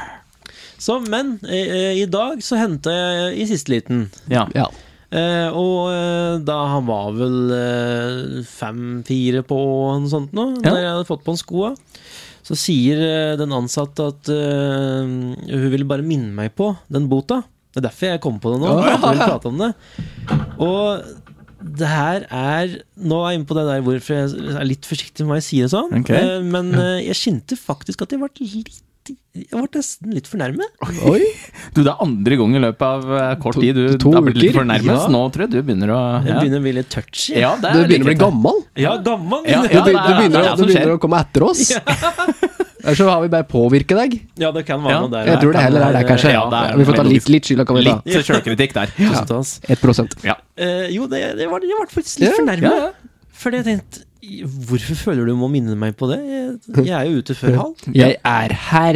S3: Så, men eh, eh, i dag så henta jeg i siste liten.
S2: Ja.
S1: Ja.
S3: Eh, og eh, da han var vel eh, fem-fire på og noe sånt nå,
S2: Ja.
S3: når jeg hadde fått på han skoa, så sier eh, den ansatte at eh, hun ville bare minne meg på den bota. Det er derfor jeg kom på det nå.
S1: Ja.
S3: for jeg vil prate om det. Og det her er Nå er jeg inne på det der hvorfor jeg er litt forsiktig med hva jeg sier sånn,
S2: Ok.
S3: eh, men eh, jeg kjente faktisk at jeg ble litt jeg ble nesten litt fornærmet.
S1: Oi.
S2: Du, det er andre gang i løpet av eh, kort
S1: To-
S2: tid du
S1: to
S2: har blitt litt
S1: uker?
S2: fornærmet.
S3: Ja.
S2: så Nå tror jeg du begynner å
S3: Jeg
S2: ja.
S3: begynner å bli litt touchy.
S2: Ja, det
S1: Du
S2: er
S1: begynner å bli
S2: like-
S1: gammel.
S3: Ja, gammel!
S2: Ja,
S1: Du, be-
S2: det er-
S1: du
S2: det er
S1: begynner,
S2: det
S1: du
S2: som
S1: begynner
S2: skjer.
S1: å komme etter oss. Ellers så har vi bare påvirket deg.
S3: Ja, det kan være
S2: Ja,
S3: noe der.
S1: Jeg tror det
S3: kan
S1: heller er det,
S3: være-
S1: kanskje.
S2: Ja, det er-
S1: vi får ta litt, litt skyld. da Kan vi ta.
S2: Litt sjølkritikk der.
S3: Ja. Tusen takk.
S1: 1
S3: Eh, jo, det, det, var, det var faktisk litt
S1: Ja,
S3: fornærmet.
S2: ja, ja.
S3: Fordi jeg tenkte Hvorfor føler du du må minne meg på det? Jeg, jeg er jo ute før halv.
S1: Jeg er her.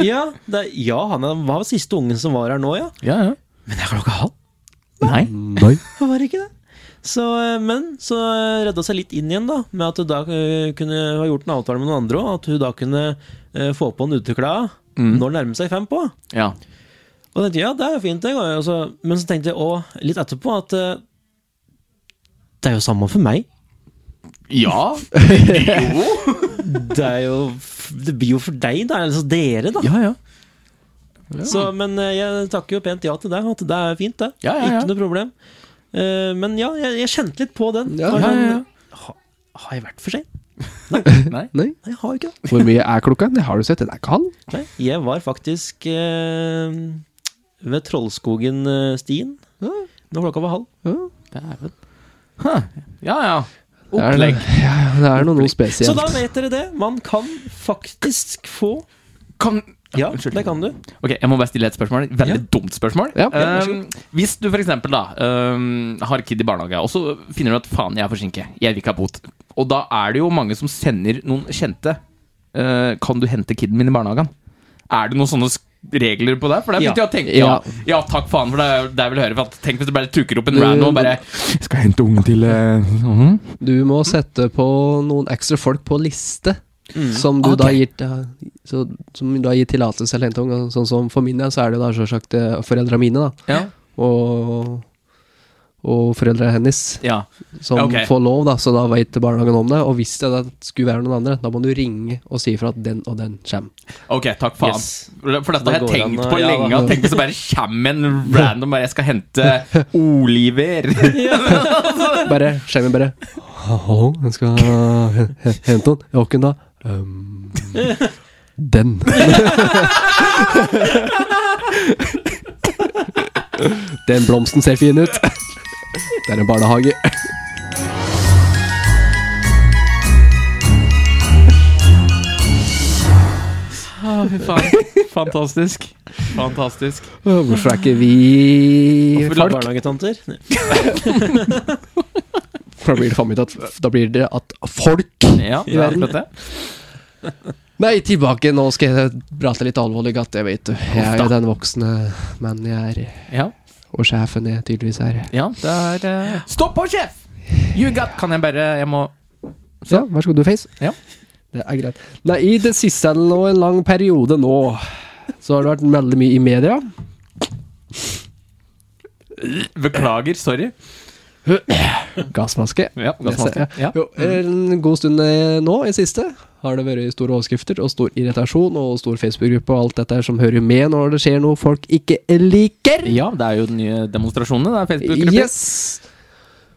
S3: Ja, det, er- ja han er, var siste ungen som var her nå, ja.
S2: Ja, ja.
S3: Men det er klokka halv.
S2: Nei.
S1: Nei.
S3: Det var ikke det. Så, eh, men så eh, redda seg litt inn igjen, da. Med at hun da eh, kunne ha gjort en avtale med noen andre òg. At hun da kunne eh, få på en uteklær.
S1: Mm.
S3: når det nærmer seg fem på.
S2: Ja.
S3: Og jeg tenkte, ja, det er jo fint det går jo, altså. Men så tenkte jeg også litt etterpå at eh, Det er jo samme for meg
S2: ja. Jo.
S3: Det er jo Det blir jo for deg da, altså dere da
S2: Ja, ja.
S3: så, Men eh, jeg takker jo pent ja til deg At det er fint det,
S2: Ja, ja, ja.
S3: ikke noe problem Eh, Men ja, jeg, jeg kjente litt på den
S1: Ja,
S3: Det var
S2: ja, ja,
S3: sånn, Ha, Har jeg vært for sent?
S2: Nei.
S1: Nei.
S3: Nei, jeg har jo ikke det
S1: Hvor mye er klokka? Det har du sett, den er ikke halv.
S3: Nei, jeg var faktisk eh, Ved Trollskogen-stien
S1: Ja.
S3: Når klokka var halv
S1: Ja.
S2: Dæven. Huh. Ja, ja.
S1: Det er,
S2: Opplegg.
S1: ja, det er noe, noe
S3: Så da
S1: spesielt.
S3: vet dere det. Man kan faktisk få
S2: Kan
S3: Ja,
S2: Unnskyld.
S3: det kan du.
S2: Ok, Jeg må bare stille et spørsmål. Veldig dumt spørsmål.
S1: Ja, ja, vær så
S2: um, hvis du f.eks. da um, har kid i barnehage, og så finner du at faen, jeg er forsinket, jeg vil ikke ha bot. Og da er det jo mange som sender noen kjente. Uh, kan du hente kiden min i barnehagen? Er det noen sånne sk- regler på det? For det er
S3: Ja.
S2: viktig å tenke ja.
S1: Ja.
S2: ja, takk faen, for det er det jeg vil høre. For at, tenk hvis du bare tukker opp en
S1: Mm.
S2: random og bare Skal jeg hente ungen til eh, sånn?»
S1: Du må sette på noen ekstra folk på liste. Som du
S2: Mm. Ok.
S1: da gir til- så, Som da gir tillatelse til henting. og Sånn som for min del, så er det da selvsagt eh, foreldra mine, da.
S2: Ja.
S1: Og, og foreldra hennes.
S2: ja.
S1: som
S2: Ja, ok.
S1: får lov, da, så da vet barnehagen om det. Og hvis det da skulle være noen andre, da må du ringe og si ifra at den og den kommer.
S2: Ok, takk faen.
S3: Yes.
S2: For dette
S3: Da
S2: har jeg
S3: går det an
S2: tenkt
S3: å-
S2: på
S3: ja,
S2: lenge.
S3: da.
S2: og tenkt så bare kommer en random bare, Jeg skal hente Oliver.
S1: Bare skjermen bare Hallo, jeg skal he- he- hente den. Jokken, da? «Øhm, den. den blomsten ser fin ut. Det er en barnehage.
S2: Fantastisk. Fantastisk.
S1: Hvorfor er ikke vi
S2: Hvorfor
S1: folk?
S3: Barnehagetanter.
S1: Da blir det faen meg at, da blir det at folk
S2: Ja,
S1: I verden.
S2: vet det.
S1: Nei, tilbake. Nå skal jeg prate litt alvorlig, at jeg vet du. Jeg er jo den voksne mannen jeg er.
S2: Ja,
S1: Og sjefen jeg tydeligvis er.
S2: ja, det er eh, Stopp på, sjef! You got Kan jeg bare Jeg må
S1: Ja, vær så god, du face.
S2: Ja.
S1: Det er greit. Nei, i det siste eller nå, en lang periode nå, så har det vært veldig mye i media.
S2: Beklager, sorry.
S1: Gassmaske.
S2: Ja, gassmaske.
S1: Det ser
S2: Ja.
S1: jeg. Jo, en god stund eh, nå, i siste, har det vært store overskrifter og stor irritasjon og stor Facebook-gruppe og alt dette her som hører med når det skjer noe folk ikke liker.
S2: ja, det er jo de nye demonstrasjonene. Det er Facebook-grupper.
S1: Yes!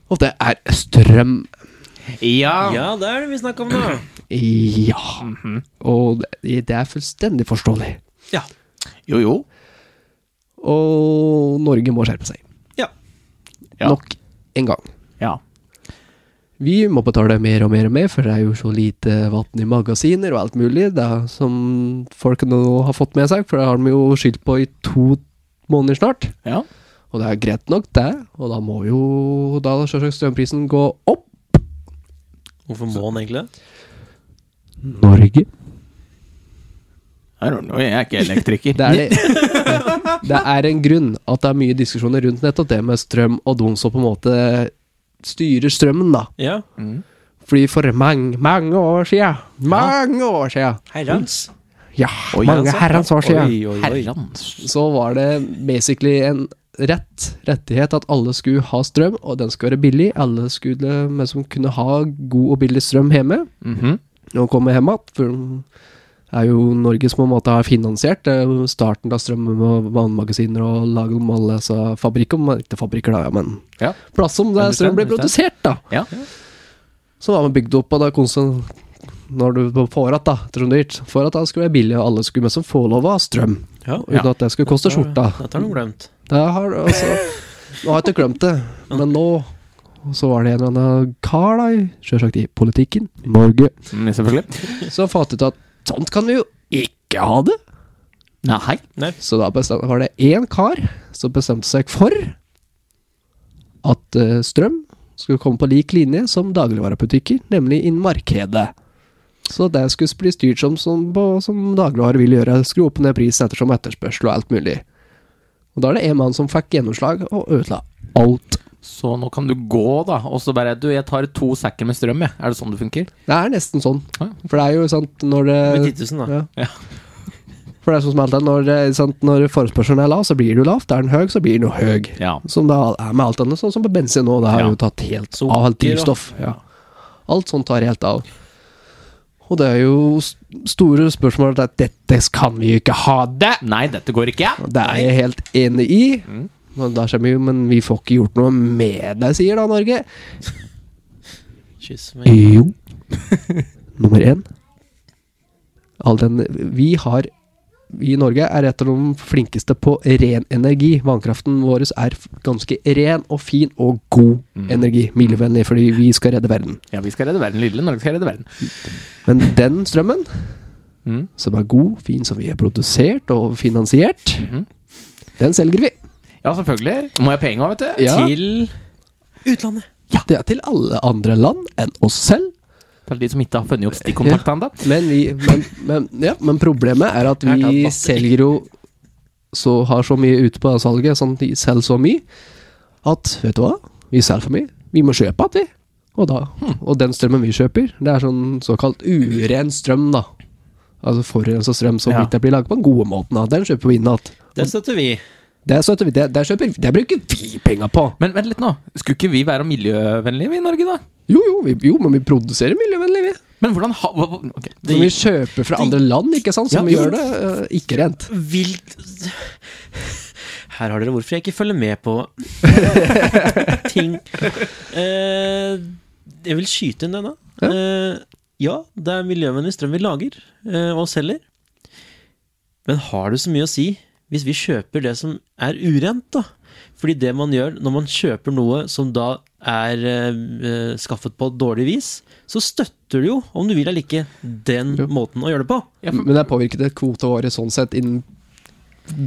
S1: Og det er strøm.
S2: Ja.
S3: Ja, det er det vi snakker om nå.
S1: Ja.
S2: Mhm.
S1: Og det, det er fullstendig forståelig.
S3: Ja.
S2: Jo, jo.
S1: Og Norge må skjerpe seg.
S3: ja.
S2: Ja.
S1: Nok en gang.
S2: Ja.
S1: Vi må betale mer og mer og mer, for det er jo så lite vann i magasiner og alt mulig, da, som folk nå har fått med seg, for det har de jo skyldt på i to måneder snart.
S2: ja.
S1: Og det er greit nok, det, og da må jo da selvsagt strømprisen gå opp.
S3: Hvorfor må han egentlig det?
S1: Norge.
S2: I don't know, jeg er ikke elektriker.
S1: Det er, det. det er en grunn at det er mye diskusjoner rundt nettopp det med strøm og de som på en måte styrer strømmen, da.
S3: Ja.
S1: Fordi for mange, mange år siden Mange år siden!
S3: Herrens.
S1: Ja,
S2: Oi,
S1: mange
S2: altså.
S1: herrens år siden!
S3: Oi, oi, oi.
S2: Herrens
S1: Så var det basically en rett, rettighet at alle skulle ha strøm, og den skulle være billig. Alle skulle men som kunne ha god og billig strøm hjemme,
S2: Mhm.
S3: Mm.
S1: og komme hjem igjen. For det er jo Norge som på en måte har finansiert det er jo starten av strømmen og vannmagasiner og lage om alle altså, fabrikker om- Ikke fabrikker, da, ja, men
S2: Ja.
S1: plass om der strøm blir
S2: Understand,
S1: produsert, da.
S2: Ja.
S1: Så var man bygd opp, og da konstant når du får at da, ettersom det er dyrt, får at da skulle være billig, og alle skulle mest som få lov å ha strøm,
S3: Ja.
S1: uten at det skulle koste skjorta.
S3: Dette har du glemt.
S1: Det har, altså, nå har jeg ikke glemt det, men nå så var det en eller annen kar da, i- selvsagt i politikken, Norge,
S2: Mm, Selvfølgelig.
S1: som fant ut at sånt kan vi jo ikke ha det.
S2: Nei.
S1: Så da bestem- var det én kar som bestemte seg for at eh, strøm skulle komme på lik linje som dagligvarebutikker, nemlig innen markedet. Så det skulle bli styrt som, som, på- som dagligvarer vil gjøre, skru opp og ned prisen ettersom etterspørsel og alt mulig. Og da er det en mann som fikk gjennomslag og ødela alt.
S2: Så nå kan du gå, da, og så bare Du, jeg tar to sekker med strøm, jeg. Er det sånn det funker?
S1: Det er nesten sånn.
S2: Ja.
S1: For det er jo sant når det
S3: Med 10 000, da.
S1: Ja. For det er sånn som alltid, når, eh, sant, når forespørselen er lav, så blir det jo lavt. Er den høy, så blir den jo høy.
S2: Ja.
S1: Som det er med alt annet, sånn som på bensin nå. Det har
S2: Ja.
S1: jo tatt helt
S3: Sukker,
S1: av alt
S3: ja.
S1: drivstoff. Ja. Alt sånt tar helt av. Og det er jo s- store spørsmål at dette kan vi jo ikke ha det!
S2: Nei, dette går ikke.
S1: Og Det er jeg helt enig i. Men, da kommer jo, men vi får ikke gjort noe med det, sier da Norge.
S3: Kyss meg.
S1: Jo. Nummer én. All den Vi har Vi i Norge er et av de flinkeste på ren energi. Vannkraften vår er f- ganske ren og fin og god energi. Miljøvennlig, fordi vi skal redde verden.
S2: Ja, vi skal redde verden. Lille Norge skal redde verden.
S1: Men den strømmen,
S2: Mm.
S1: som er god, fin, som vi har produsert og finansiert,
S2: Mhm.
S1: den selger vi.
S2: Ja, selvfølgelig. Må jeg ha penger òg, vet du.
S1: Ja.
S3: Til utlandet.
S1: Det er til alle andre land enn oss selv.
S2: Til de som ikke har funnet opp stikkontakt ennå.
S1: Men, vi, men, men, ja, men problemet er at
S2: Jeg har tatt
S1: vi
S2: masse.
S1: selger jo så, Har så mye ute på salget, sånn de selger så mye, at Vet du hva? Vi selger for mye. Vi må kjøpe igjen, vi. Og, da, og den strømmen vi kjøper, det er sånn såkalt uren strøm, da. Altså forurensa strøm som
S2: Ja.
S1: ikke blir laget på den gode måten. Da. Den kjøper vi inn igjen.
S3: Det støtter vi.
S1: Det, støtter vi- det, det, kjøper vi- det bruker vi penger på.
S2: Men vent litt nå. Skulle ikke vi være miljøvennlige vi i Norge, da?
S1: Jo, jo, vi, jo men vi produserer miljøvennlig, vi.
S2: Men hvordan ha... hva- hva- ok.
S1: Som vi kjøper fra andre land, ikke sant, som
S3: Ja,
S1: gjør
S3: jo.
S1: det eh, ikke rent.
S3: Vilt Her har dere hvorfor jeg ikke følger med på ting. Eh, jeg vil skyte inn denne. Ja, eh, ja det er miljøvennlig strøm vi lager eh, og selger. Men har det så mye å si hvis vi kjøper det som er urent, da? Fordi det man gjør når man kjøper noe som da er eh, eh, skaffet på dårlig vis, så støtter du jo, om du vil eller ikke, den
S1: Jo.
S3: måten å gjøre det på.
S2: Mm.
S1: Men det påvirket kvota vår sånn sett innen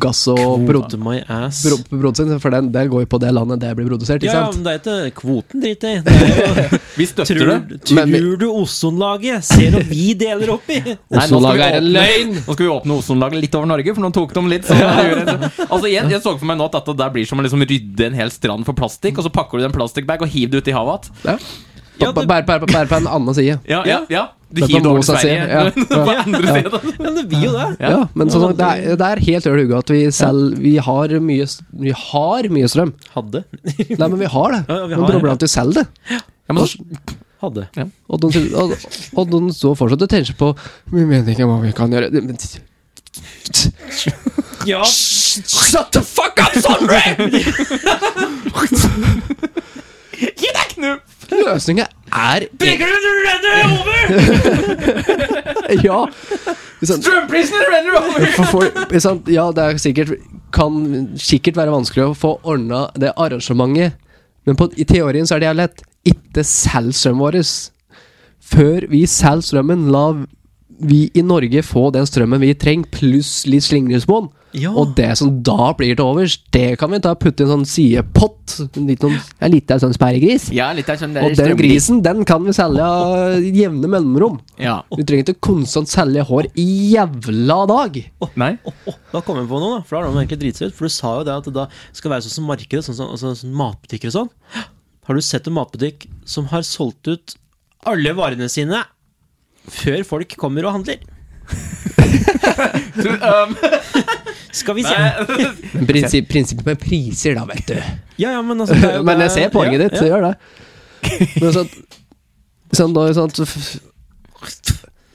S1: gass og prod
S3: Quote my ass.
S1: pro produsent, for den, det går jo på det landet det blir produsert, ikke
S3: Ja,
S1: sant?
S3: men det er ikke kvoten driter jeg i. Det er jo-
S2: Vi støtter
S3: Tror,
S2: det.
S1: Men vi-
S3: tror du ozonlaget ser hva vi deler opp i?
S2: Nei, nå skal vi
S1: Ozonlaget er en
S2: åpne-
S1: løgn!
S2: Nå skal vi åpne ozonlaget litt over Norge, for nå tok de litt sånn. Altså, jeg, jeg så for meg nå at dette der blir som å liksom rydde en hel strand for plastikk, og så pakker du det i en plastikkbag og hiver det ut i havet igjen.
S1: Ja.
S3: Ja,
S1: Bare
S3: det-
S1: bare- bare- bare på en annen side.
S2: Ja, ja, ja. Du
S1: Dette
S2: hiver det
S1: må
S2: over til
S1: seg se,
S2: Sverige.
S1: ja.
S2: På andre siden.
S3: Ja, det blir jo det.
S1: Ja, men sånn, det, er, det er helt høl i huet at vi selv vi har, mye, s- vi har mye strøm.
S3: Hadde.
S1: Nei, men vi har det.
S3: Ja, ja, vi
S1: men
S3: har det.
S1: problemet er at vi selger det.
S2: Ja, men så,
S3: Hadde.
S1: Og de, sy- og, og de står fortsatt og tenker på Vi mener ikke hva vi kan gjøre Det- men-
S3: Ja,
S1: Shut the fuck up, Sondre!
S2: Gi deg knuff!
S1: Løsningen er
S2: Begge du renner over!
S1: Ja. Sånn,
S2: Strømprisene renner over!
S1: For folk, ikke sant? Ja, det er sikkert, kan sikkert være vanskelig å få ordna det arrangementet, men på, i teorien så er det jævlig lett. Ikke selg strømmen vår. Før vi selger strømmen, la vi i Norge få den strømmen vi trenger, pluss litt slingringsmonn.
S3: Ja.
S1: Og det som da blir til overs, det kan vi ta og putte i en sånn sidepott. En liten, en liten sånn sperregris.
S2: Ja, litt av sånn der
S1: Og den
S2: strømpris-
S1: grisen, den kan vi selge i jevne mellomrom.
S2: Ja.
S1: Du trenger ikke konstant selge hår i jævla dag.
S2: Nei?
S3: Å, å, da kom jeg på noe, da. For da har de egentlig driti seg ut. For du sa jo det at det da skal være sånn som markedet, sånn som sånn, sånn matbutikker og sånn. Har du sett en matbutikk som har solgt ut alle varene sine før folk kommer og handler?
S2: Du, um,
S3: Skal vi se.
S1: Men prinsipp, prinsippet med priser, da, vet du.
S3: Ja, ja, men altså det er jo
S1: Men jeg
S3: det-
S1: ser poenget ditt, så gjør det. Men sånn, sånn da sånn, så f-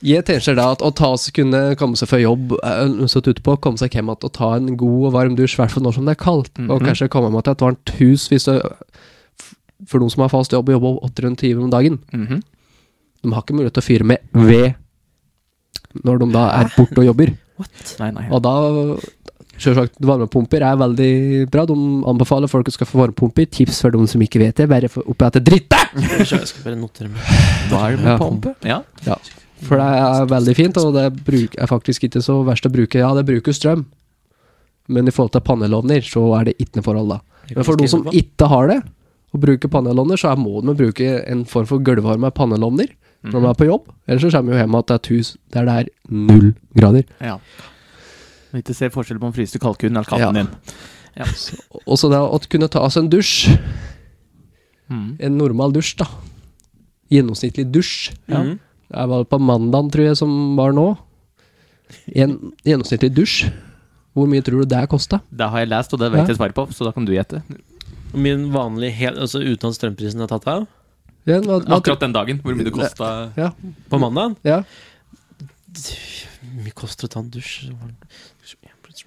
S1: Jeg tenker da at å ta seg kunne komme seg fra jobb eh, satt utpå, komme seg hjem igjen og ta en god og varm dusj, i hvert fall når som det er kaldt. Og kanskje komme meg til et varmt hus hvis det, for noen som har fast jobb, jobber 800 timer om dagen.
S2: mhm.
S1: De har ikke mulighet til å fyre med ved når de da er borte og jobber.
S3: What?
S2: Nei, nei.
S1: Og da Selvsagt, varmepumper er veldig bra. De anbefaler folk å skaffe varmepumper. Tips for de som ikke vet det. Bare få oppi at det er dritt! da!
S3: Jeg skal bare notere meg.
S1: Ja.
S2: Varmepumpe. Ja.
S1: Ja, for det er veldig fint, og det bruk, er faktisk ikke så verst å bruke. Ja, det bruker strøm, men i forhold til panelovner, så er det ikke noe forhold, da. Men for de som ikke har det, og bruker panelovner, så er må de bruke en form for gulvvarme av panelovner når de er på jobb. Ellers så kommer vi jo hjem til et hus der det er null grader.
S2: Ja. Når du ikke ser forskjell på om fryste kalkunen eller katten
S1: Ja.
S2: din.
S1: Og så det å kunne ta seg en dusj
S2: Mhm.
S1: en normal dusj, da. Gjennomsnittlig dusj.
S2: Ja.
S1: Det var på mandagen, tror jeg, som var nå. En gjennomsnittlig dusj, hvor mye tror du det kosta?
S2: Det har jeg lest, og det vet
S1: Ja.
S2: jeg svaret på, så da kan du gjette.
S3: Min vanlige, hel, altså uten at strømprisen er tatt av,
S1: Den var- var-
S2: Akkurat den dagen. Hvor mye det kosta
S1: Ja,
S3: på mandag
S1: ja.
S3: Hvor mye koster det å ta en dusj? Så var det-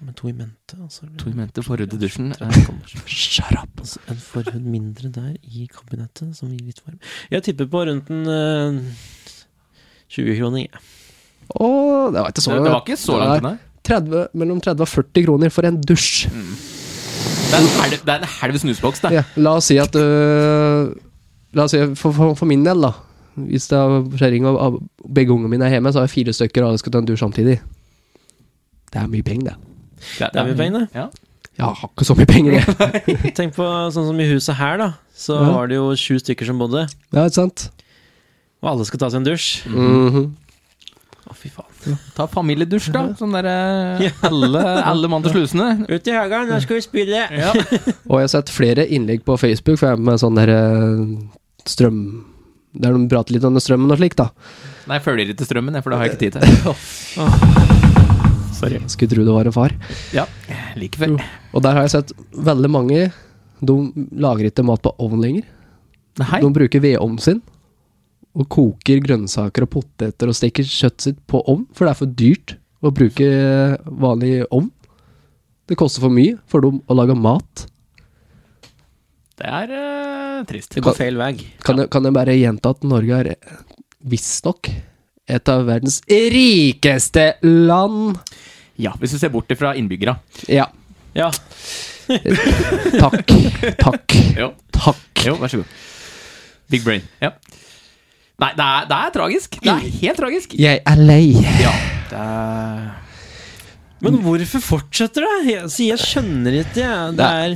S3: Med to i mente, altså.
S2: to menter forhud i dusjen.
S1: Shut up.
S3: Altså, En forhud mindre der i kabinettet, som gir litt varme. Jeg tipper på rundt en eh, 20 kroner. jeg.
S1: altså. Å, det var ikke så
S2: Det, det var ikke så langt unna. Mm.
S1: 30, mellom 30 og 40 kroner for en dusj.
S2: Det er en helv, det er en helv snusboks, det.
S1: Ja, la oss si at øh, La oss si for, for, for min del, da. Hvis det er skjæring og av begge ungene mine er hjemme, så har jeg fire stykker og alle skal ta en dusj samtidig. Det er mye penger, det.
S3: Det er mye penger, det.
S2: Ja.
S1: Jeg har ikke så mye penger, jeg.
S3: Tenk på sånn som i huset her, da. Så
S1: Ja.
S3: var det jo sju stykker som bodde,
S1: Ja, ikke sant?
S3: og alle skal ta seg en dusj.
S2: Mm.
S1: Mhm.
S3: Å, fy faen.
S2: Ta familiedusj, da. Sånn derre alle, alle mann til slusene.
S3: Ut i hagen, nå skal vi spille!
S2: Ja.
S1: Og jeg har sett flere innlegg på Facebook, for jeg er med sånn der øh, strøm Der de prater litt om strømmen og slikt, da.
S2: Nei, følger ikke strømmen, jeg, for det har jeg ikke tid til. Sorry.
S1: Jeg skulle tro det var en far.
S2: Ja, like før.
S1: Og der har jeg sett veldig mange De lager ikke mat på ovn lenger.
S2: Nei.
S1: De bruker vedovnen sin og koker grønnsaker og poteter og steker kjøttet sitt på ovn, for det er for dyrt å bruke vanlig ovn. Det koster for mye for dem å lage mat.
S2: Det er eh, trist.
S3: Det går feil vei.
S1: Kan, jeg, kan jeg bare gjenta at Norge er eh, visstnok et av verdens rikeste land?
S2: Ja, hvis du ser bort ifra innbyggere.
S1: Ja.
S3: Ja.
S1: Takk. Takk.
S2: Jo.
S1: Takk.
S2: jo, vær så god. Big brain. Ja. Nei, det er, det er tragisk. Det er helt tragisk.
S1: Jeg er lei.
S2: Ja. Det er
S3: Men hvorfor fortsetter det? Jeg, altså, jeg skjønner ikke, jeg. Det er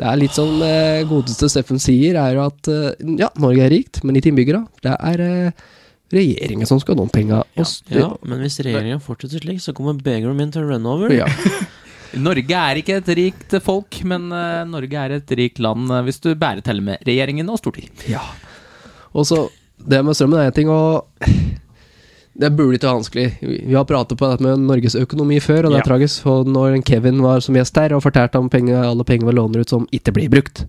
S1: Det er litt sånn eh, godeste Steffen sier, er jo at eh, ja, Norge er rikt, men ikke innbyggere. Det er eh, regjeringen som skal ha noen penger. Og s-
S3: Ja, men hvis regjeringa fortsetter slik, så kommer begeren min til å renne over.
S1: Ja.
S2: Norge er ikke et rikt folk, men eh, Norge er et rikt land eh, hvis du bærer til med regjeringen og Stortinget.
S1: ja. Og så, det med strømmen er en ting, og det burde ikke være vanskelig. Vi vi har pratet på dette med Norges økonomi før, og det er
S2: Ja.
S1: tragisk. Og når Kevin var som gjest her og fortalte om penger, alle penger vi låner ut som ikke blir brukt.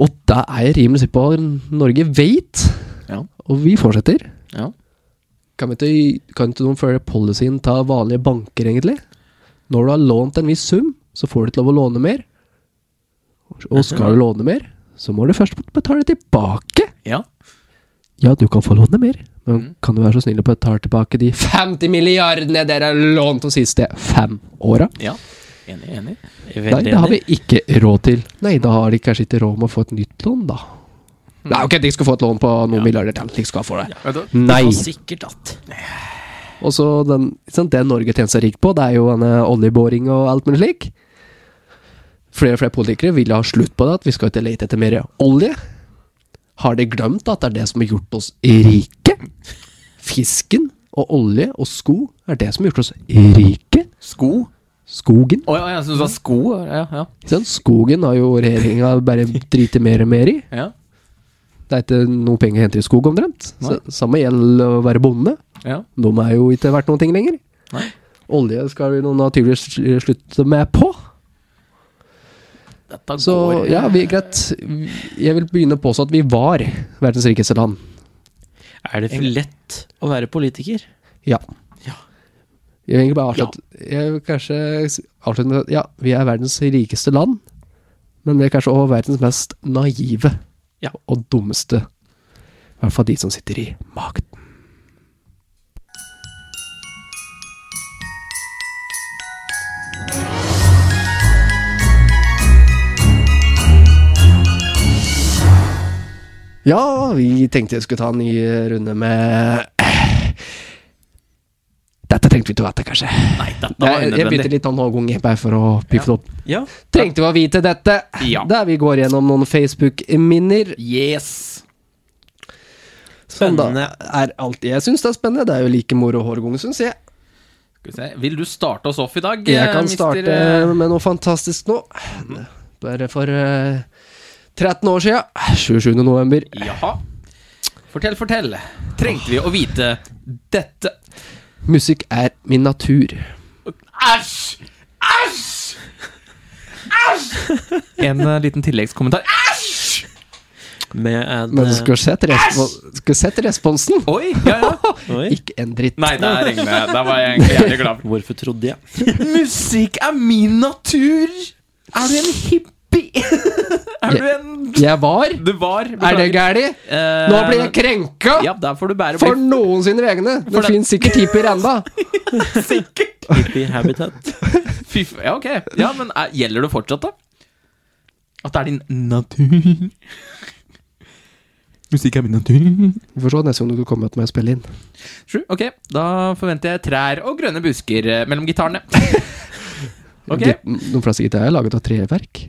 S1: Og da er jeg rimelig sikker på at Norge vet,
S2: Ja.
S1: og vi fortsetter.
S2: Ja.
S1: Kan, vi ikke, kan ikke noen følge policyen ta vanlige banker, egentlig? Når du har lånt en viss sum, så får du ikke lov å låne mer. Og skal du låne mer, så må du først betale tilbake.
S2: ja.
S1: Ja, du kan få låne mer, men
S3: Mm.
S1: kan du være så snill å betale tilbake de 50 milliardene dere har lånt de siste fem åra?
S2: ja. Enig, enig.
S3: Jeg er
S1: Nei,
S3: veldig
S1: det har
S3: enig.
S1: vi ikke råd til. Nei, da har de kanskje ikke råd med å få et nytt lån, da. Nei, ok, de skal få et lån på noen milliarder til. De skal få det.
S2: Vet du,
S1: Nei.
S3: Og sikkert at
S1: Og så den, ikke sant, det Norge tjener seg rikt på, det er jo denne oljeboring og alt mulig slik. Flere og flere politikere vil ha slutt på det, at vi skal ikke lete etter mer olje. Har de glemt at det er det som har gjort oss rike? Fisken og olje og sko er det som har gjort oss rike.
S2: Sko?
S1: Skogen.
S2: Å ja, jeg syns du sa sko. Ja, ja.
S1: Ikke sant? Skogen har jo regjeringa bare driti mer og mer i.
S2: ja.
S1: Det er ikke noe penger å hente i skog, omtrent. Så, samme gjelder å være bonde.
S2: ja.
S1: De er jo ikke verdt noen ting lenger.
S2: Nei.
S1: Olje skal vi nå naturligvis sl- slutte med på.
S2: Dette
S1: Så
S2: går
S1: ja, vi, greit. Jeg vil begynne å påstå at vi var verdens rikeste land.
S3: Er det for lett å være politiker?
S1: Ja.
S3: Ja.
S1: Jeg vil egentlig bare avslutte Jeg vil kanskje s- avslutte med at ja, vi er verdens rikeste land, men vi er kanskje også verdens mest naive
S3: Ja.
S1: og dummeste. I hvert fall de som sitter i makten. Ja, vi tenkte jeg skulle ta en ny runde med Dette trengte vi til å vite, kanskje.
S2: Nei, dette
S1: Jeg,
S2: var
S1: jeg begynte
S2: unødvendig.
S1: litt sånn om avgang, bare for å piffe det opp.
S3: Ja.
S1: Trengte vi å vite dette?
S2: Ja.
S1: Der vi går gjennom noen Facebook-minner.
S2: Yes.
S1: Som Sånn da
S3: Spennende.
S1: er alt jeg syns det er spennende. Det er jo like moro hver gang, syns jeg.
S2: Skal vi se. Vil du starte oss off i dag?
S1: Jeg
S2: eh,
S1: kan
S2: mister,
S1: starte
S2: eh,
S1: med noe fantastisk nå. Bare for eh, 13 år sia. 27. november.
S2: Jaha. Fortell, fortell. Trengte vi å vite dette?
S1: Musikk er min natur.
S2: Æsj! Æsj! Æsj! En eh, liten tilleggskommentar. Æsj!
S3: Med en
S1: Men du
S3: eh,
S1: skulle sett, respo skulle sett responsen!
S2: Oi, ja, ja.
S3: Oi.
S1: Ikke en dritt.
S2: Nei, der, regner, der var jeg egentlig jævlig glad.
S3: Hvorfor trodde jeg?
S2: Musikk er min natur! Er du en hippie? Er du en
S1: Jeg var.
S2: Du var Eh,
S1: Er det gæli? Nå blir jeg krenka!
S2: Ja, der får du bære
S1: For noen sine egne. Det
S2: For det-
S1: finnes sikkert hippier enda.
S2: sikkert!
S3: Hippie habitat.
S2: Fy f... Ja, ok. Ja, men er, gjelder det fortsatt, da? At det er din natur? Musikk er min natur.
S1: Vi får se neste gang du kommer med meg og spiller inn.
S2: Sju. Ok, da forventer jeg trær og grønne busker eh, mellom gitarene. Ok.
S1: Git- De fleste gitarer er laget av treverk.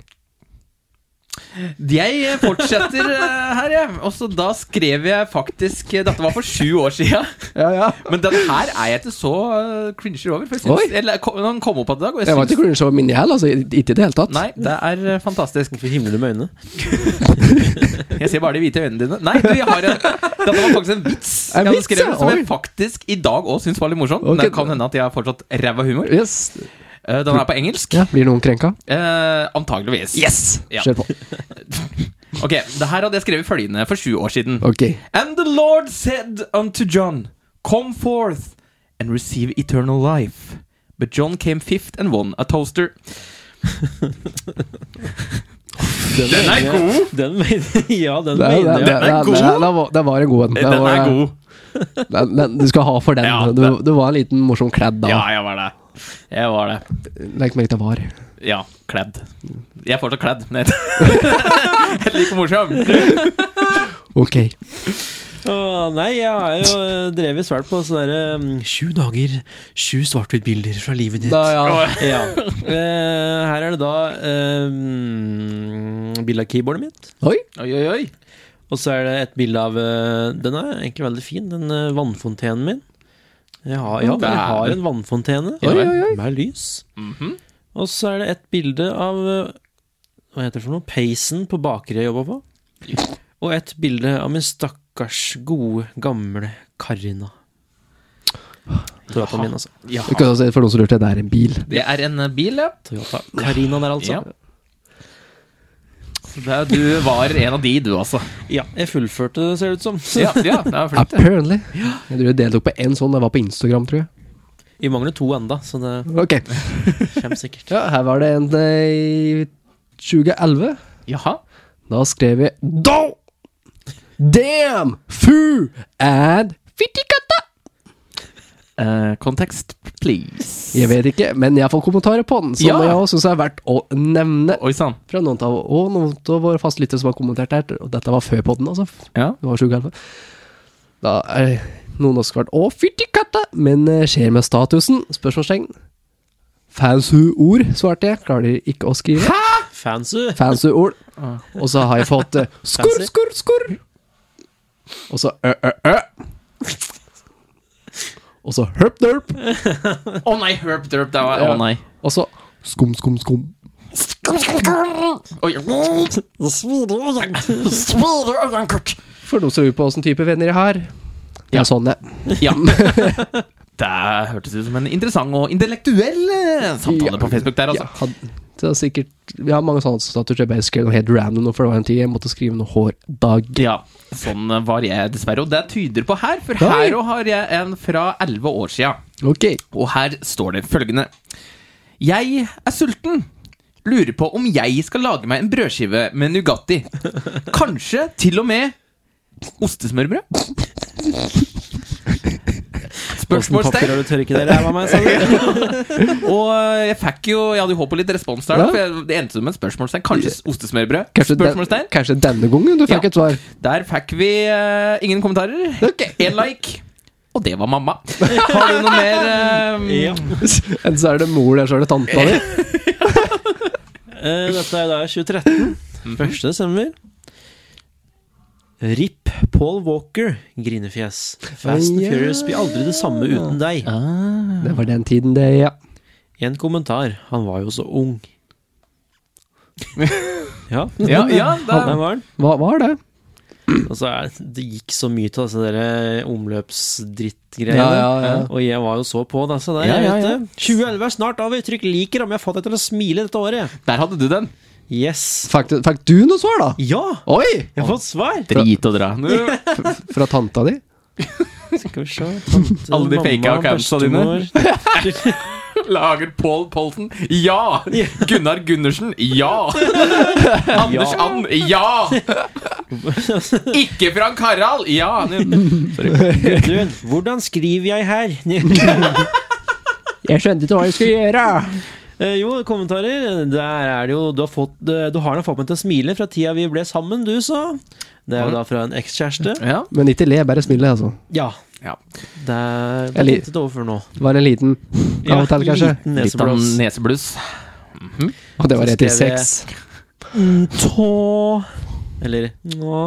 S2: Jeg eh, fortsetter eh, her, jeg. Og så da skrev jeg faktisk eh, Dette var for sju år sia.
S1: Ja, ja.
S2: Men den her er jeg ikke så eh, cringer over. For jeg synes,
S1: Oi.
S2: eller, ko- den kom opp i dag, og jeg
S1: Jeg var
S2: syns
S1: ikke cringe over min i hæl, altså. i- Ikke i det hele tatt.
S2: Nei, det er eh, fantastisk.
S3: Hvorfor himler du med øynene?
S2: Jeg ser bare de hvite øynene dine. Nei, du, jeg har en Dette var faktisk en
S1: En
S2: vits jeg hadde
S1: vits,
S2: skrevet,
S1: ja.
S2: som jeg
S1: Oi.
S2: faktisk i dag òg syns var litt morsom.
S1: Ok.
S2: Men det kan hende at jeg har fortsatt ræva humor.
S1: Yes.
S2: Eh, Den er på engelsk.
S1: Ja, blir noen krenka?
S2: Eh, antageligvis.
S1: Yes!
S2: Ja.
S1: Kjør på.
S2: Ok, det her hadde jeg skrevet følgende for sju år siden.
S1: Ok.
S2: And the Lord said unto John, Come forth and receive eternal life. But John came fifth and won a toaster.
S3: Den,
S2: er
S3: mener jeg- Eh, Den mener, ja, den
S1: Det, det, det,
S3: mener
S1: det,
S3: jeg.
S2: Den er
S1: det,
S2: god.
S1: det, var- det var en god en. Det
S2: Den
S1: var-
S2: er god.
S1: Den, den, du skal ha for den.
S2: Ja,
S1: du,
S2: den-
S1: du var en liten morsom kledd da.
S2: Ja, jeg var det. Jeg var det.
S1: Legg merke til var.
S2: Ja, kledd. Jeg er fortsatt kledd, men jeg jeg liker morsom.
S1: Ok.
S3: Åh, nei, jeg har jo eh, drevet svært på sånne der, mm, Sju dager, sju svart-hvitt-bilder fra livet ditt. Ja. Eh, her er det da uh, bilde av keyboardet mitt.
S1: Oi.
S2: Oi, oi, oi.
S3: Og så er det et bilde av eh, Den er egentlig veldig fin, den eh, vannfontenen min. Jeg har, ja, jeg har en vannfontene
S2: Oi, oi,
S3: med lys. Og så er det et bilde av eh, Hva heter det for noe? Peisen på bakeriet jeg jobba på. Og et bilde av min stakkars gode, gamle Karina. Toyota min, altså.
S2: Ja.
S1: Du kan også si for noen som lurte, det er en bil.
S2: Det er en eh, bil, ja.
S3: Toyota Karina der, altså.
S2: Ja. Så det er- Du var en av de, du, altså.
S3: Ja, jeg fullførte det, ser det ut som.
S2: Ja, ja det er flink, det.
S1: Apparently. Jeg tror jeg deltok på én sånn, det var på Instagram, tror jeg.
S3: Vi mangler to enda, så det
S1: Ok.
S3: kommer sikkert.
S1: Ja, her var det en eh, i 2011.
S2: Jaha.
S1: Da skrev jeg DO! Damn! Foo! And Fittikatta!
S2: Eh, Kontekst, please.
S1: Jeg vet ikke, men jeg får kommentarer på den, som
S2: Ja.
S1: jeg også syns er verdt å nevne.
S2: Oi sann.
S1: Fra noen av, og noen av våre faste lyttere som har kommentert her, og dette var før podden, altså.
S2: Ja.
S1: Det var sju kalver. Da er noen også vært Å, fytti katta! Men eh, skjer med statusen? Spørsmålstegn. Fansu-ord, svarte jeg. Klarer de ikke å skrive.
S3: Fancy!
S1: Fansu-ord. Ah. Og så har jeg fått eh, skurr,
S3: Fancy.
S1: skurr, skurr. Og så ø, ø, ø. Og så hørp, derp.
S2: Å nei, herp derp. Det var Å
S1: Ja.
S2: nei.
S1: Og så skum, skum, skum.
S2: Oi.
S1: For noen som lurer på åssen type venner jeg har. Ja,
S2: Ja.
S1: sånn, det.
S2: Ja. Det hørtes ut som en interessant og intellektuell eh, samtale på Facebook der,
S1: Ja,
S2: altså.
S1: had, det er sikkert, vi har mange sånne statuser. Jeg bare skrev noe helt random, nå, for det var en tid jeg måtte skrive noe hårdag.
S2: Ja, sånn var jeg dessverre. Og det tyder på her, for
S1: Oi.
S2: her òg har jeg en fra elleve år sia.
S1: Ok.
S2: Og her står det følgende. Jeg er sulten. Lurer på om jeg skal lage meg en brødskive med Nugatti. Kanskje til og med ostesmørbrød?
S3: Åssen
S2: Spørsmålstegn.
S3: papir har du tørket deg i ræva med, sa du?
S2: Og eh, jeg fikk jo Jeg hadde jo håp på litt respons der, da,
S1: Ja.
S2: for jeg, det endte som et spørsmålstegn. Kanskje ostesmørbrød?
S1: Kanskje, den,
S2: spørsmålstegn.
S1: kanskje denne gangen du fikk
S2: Ja.
S1: et svar.
S2: Der fikk vi eh, ingen kommentarer.
S1: Ok.
S2: Én like. Og det var mamma. Har du noe mer eh,
S3: Ja.
S1: Enten så er det mor eller så er det tanta di.
S3: Eh, Dette er da 2013. 1. desember. RIP Paul Walker, grinefjes. Fast and
S1: Ja.
S3: Furious blir aldri det samme uten deg.
S1: Det var den tiden, det, ja.
S3: En kommentar. Han var jo så ung. Ja,
S2: Ja, ja, da-
S3: han var han.
S1: Hva var det?
S3: Og så er, det gikk så mye til disse der eh, omløpsdrittgreiene.
S1: Ja, ja, ja.
S3: Og jeg var jo så på disse der.
S2: Ja, ja,
S3: vet
S2: ja.
S3: du. 2011 eh, er snart over. Trykk liker om jeg har fått deg til å smile dette året.
S2: Der hadde du den.
S3: Yes.
S1: Fikk du, fikk du noe svar, da?
S3: Ja!
S1: Oi!
S3: Jeg har fått svar!
S2: Drit og dra.
S1: Fra tanta di?
S3: Skal vi se Tante,
S2: Alle de fake
S3: mamma,
S2: accountsa dine.
S3: bestemor.
S2: Lager Paul Polten? Ja! Gunnar Gundersen? Ja! Anders And? Ja! Ikke Frank Harald? Ja!
S3: Gudrun, hvordan skriver jeg her?
S1: Jeg skjønte ikke hva jeg skulle gjøre.
S3: Eh, jo, kommentarer. Der er det jo Du har, fått, eh, du har da fått meg til å smile fra tida vi ble sammen, du, sa. Det er jo da fra en ekskjæreste.
S2: Ja.
S1: Men ikke le, bare smile, altså.
S3: Ja.
S2: ja.
S3: Det er
S1: Jeg lik-
S3: litt overfor nå.
S1: Det var en liten av og til, kanskje.
S3: liten
S2: Litt av
S3: nesebluss.
S2: nesebluss.
S1: Og det var
S3: Så
S1: rett i
S3: skrev jeg-
S1: sex.
S3: Mm, Tå Eller nå.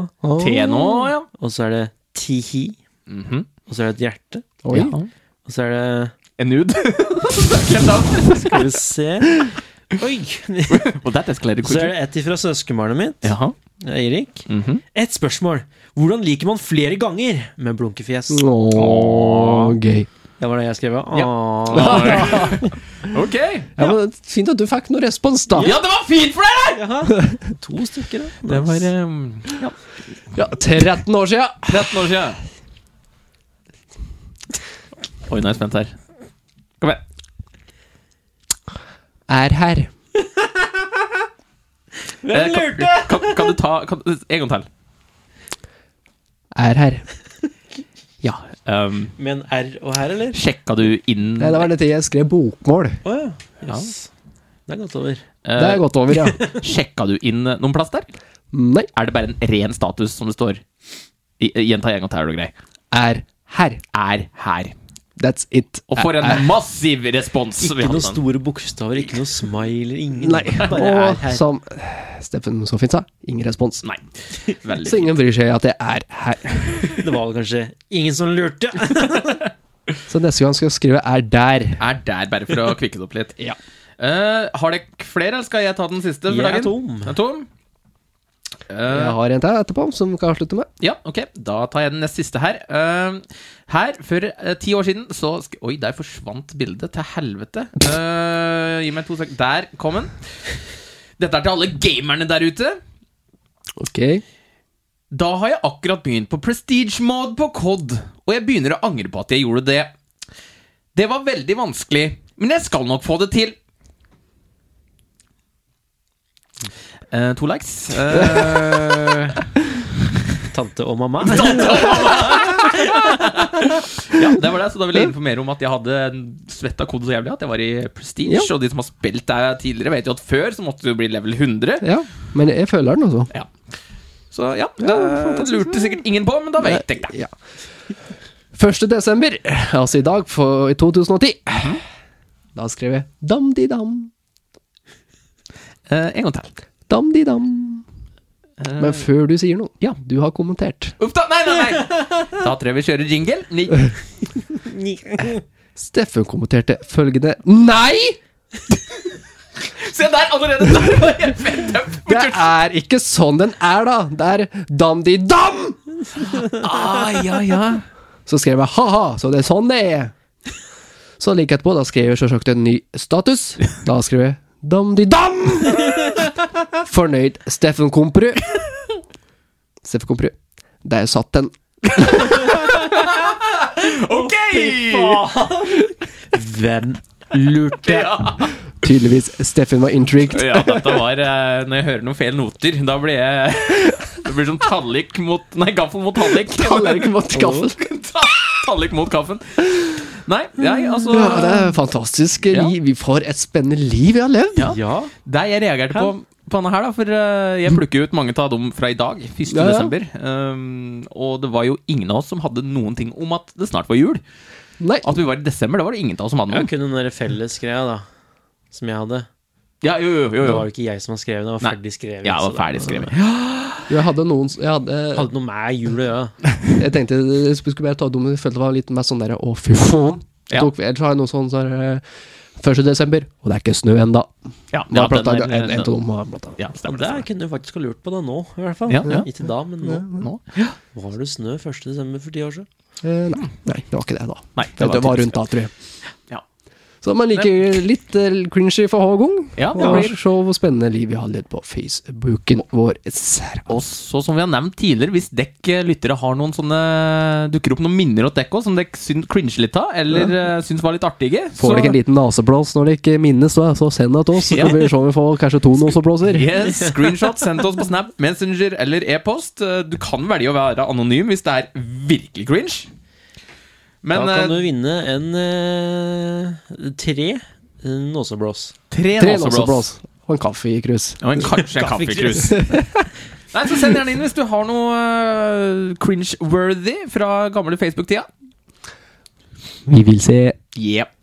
S2: T nå, ja.
S3: Og så er det tihi.
S2: Mhm.
S3: Og så er det et hjerte.
S1: Oi.
S2: Ja.
S3: Og så er det
S2: En nude. Helt av.
S3: Skal vi se Oi!
S2: Og that eskalerer
S3: Så
S2: quickly.
S3: er det et ifra søskenbarnet mitt,
S2: Jaha.
S3: Eirik.
S2: Mhm.
S3: Et spørsmål. Hvordan liker man flere ganger med blunkefjes?
S1: Åh, gøy.
S3: Det var det jeg skrev.
S2: Ja.
S3: Åh.
S2: Ok.
S1: Ja, men Fint at du fikk noe respons, da.
S2: Ja, det var fint for deg!
S3: Jaha. To stykker, da.
S2: Det var
S3: Nice.
S2: um,
S1: Ja, 13 år sia!
S2: 13 år siden. Oi, nå er jeg spent her. Kom igjen.
S1: Er her.
S2: Eh,
S3: Hvem
S2: kan-
S3: lurte?
S2: Kan, kan du ta kan, En gang til.
S1: Er her.
S2: Ja. Um,
S3: Med en R og her, eller?
S2: sjekka du inn
S1: Nei, det var den tida jeg skrev bokmål.
S3: Å ja. Yes. Det er godt over.
S2: eh,
S1: Det er gått over, ja.
S2: Sjekka du inn eh, noen plass der?
S1: Nei.
S2: Er det bare en ren status som det står? I- eh, Gjenta en gang til, er du grei.
S1: Er her.
S2: Er her.
S1: That's it.
S2: Og for
S1: Eh,
S2: en massiv respons! vi
S3: Ikke
S2: hadde
S3: noen
S2: den.
S3: store bokstaver, ikke noe smiler, ingen
S1: Nei.
S3: Bare er
S1: Og
S3: her.
S1: som Steffen så fint sa, ingen respons.
S2: Nei. Veldig
S1: Så ingen bryr seg at jeg er her.
S3: Det var vel kanskje ingen som lurte.
S1: Så neste gang skal jeg skrive 'er der'.
S2: er der, bare for å kvikke det opp litt.
S1: Ja.
S2: Eh, har dere flere, eller skal jeg ta den siste? for
S3: Jeg er
S2: dagen?
S3: tom.
S2: Er tom? Eh,
S1: Jeg har en til etterpå som vi kan avslutte med.
S2: ja, ok. Da tar jeg den nest siste her. Eh, her, for eh, ti år siden, så sk Oi, der forsvant bildet. Til helvete. Eh, gi meg to sekunder. Der kom den. Dette er til alle gamerne der ute.
S1: Ok.
S2: Da har jeg akkurat begynt på prestige mode på COD, og jeg begynner å angre på at jeg gjorde det. Det var veldig vanskelig, men jeg skal nok få det til. Eh, to likes. Eh,
S3: Tante og mamma.
S2: ja, det var det, så da vil jeg informere om at jeg hadde svetta kode så jævlig at jeg var i prestige.
S1: Ja.
S2: Og de som har spilt der tidligere, vet jo at før så måtte du bli level 100.
S1: Ja. Men jeg føler den, altså.
S2: Ja. Så ja, det lurte sikkert ingen på, men da vet jeg det.
S1: Ja. 1. desember, altså i dag, for, i 2010. Da skrev jeg 'dam-di-dam'.
S2: Eh, en gang til.
S1: Dam-di-dam.
S2: Eh,
S1: Men før du sier noe,
S2: ja.
S1: du har kommentert.
S2: Uff da, nei, nei, nei Da tror jeg vi kjører jingle Ni.
S1: Steffen kommenterte følgende Nei!
S2: Se der, allerede der var jeg fett tøff.
S1: Det er ikke sånn den er, da! Det er dam-di-dam!
S2: ah, ja, ja.
S1: Så skrev jeg ha-ha, så det er sånn det er. Så like etterpå, da skrev jeg selvsagt en ny status. Da skrev jeg dam-di-dam! Fornøyd Steffen Komprud. Steffen Komprud. Der satt den.
S2: Ok
S3: Hvem lurte?
S2: ja.
S1: Tydeligvis Steffen var intrigued.
S2: ja, dette var eh, Når jeg hører noen feil noter Da blir jeg Det blir sånn tallik mot Nei, gaffel mot tallik
S1: Tallerken mot gaffel.
S2: Ta- Tallik mot kaffen Nei, jeg, altså
S1: Ja, det er fantastisk.
S2: Ja.
S1: liv. Vi får et spennende liv vi har levd.
S2: Ja.
S3: Ja.
S2: Det jeg reagerte på på denne her da, for eh, Jeg plukker jo ut mange av dem fra i dag, 1.
S1: Ja, ja.
S2: desember. Um, og det var jo ingen av oss som hadde noen ting om at det snart var jul.
S1: Nei,
S2: At vi var i desember, det var det ingen av oss som hadde
S3: Jeg
S2: noe om.
S3: kunne den der fellesgreia, da. Som jeg hadde.
S2: Ja, jo, jo, jo,
S3: Det
S2: jo.
S3: var det ikke jeg som har skrevet, det var
S2: Nei.
S3: ferdig skrevet.
S2: Ja, det
S3: så
S2: var ferdig skrevet.
S1: jeg hadde noen Jeg, hadde,
S3: Hadde noe med jul å gjøre.
S1: jeg tenkte eh, jeg skulle bare ta dem Jeg følte det var litt mer sånn der Å, fy faen.
S2: Ja.
S1: Tok- Ellers har jeg noe sånn så er det, 1. desember, og det er ikke snø ennå.
S2: Ja,
S1: Ja,
S2: ja, den
S1: plata,
S2: er-
S1: en, en,
S2: den-
S1: av dem var plata.
S2: ja,
S3: Og
S2: stemmer det.
S3: der kunne du faktisk ha lurt på det nå, i hvert fall.
S2: Ja, ja.
S3: Ikke da, men nå.
S2: Nå?
S3: Var det snø 1. desember for ti år siden?
S1: Eh, nei, nei, det var ikke det, da.
S2: Nei,
S1: det, var
S2: typisk.
S1: rundt da, tror jeg.
S2: Ja.
S1: Så man liker litt eh, cringy for hver gang.
S2: Ja, det
S1: og
S2: blir-
S1: se hvor spennende liv vi har ledd på Facebooken vår. Sær-
S2: Og så som vi har nevnt tidligere, hvis dekk eh, lyttere har noen sånne dukker opp noen minner åt dekk også, som dekk syn- cringe litt av, eller eh, syns var litt artige
S1: Får dere en liten naseblås når dere ikke minnes, da, så send det til oss. Så
S2: Ja.
S1: kan vi se om vi får kanskje to naseblåser.
S2: Yes, screenshot sendt oss på Snap, Messenger eller e-post. Eh, Du kan velge å være anonym hvis det er virkelig cringe. Men
S3: da kan
S2: eh,
S3: du vinne en eh, tre nåseblås.
S2: tre
S1: Tre
S2: naseblås.
S1: naseblås og en kaffekrus.
S2: Og en kanskje en kaffekrus. Nei, så Send gjerne inn hvis du har noe eh, cringe-worthy fra gamle Facebook-tida.
S1: Vi vil se
S2: Yep.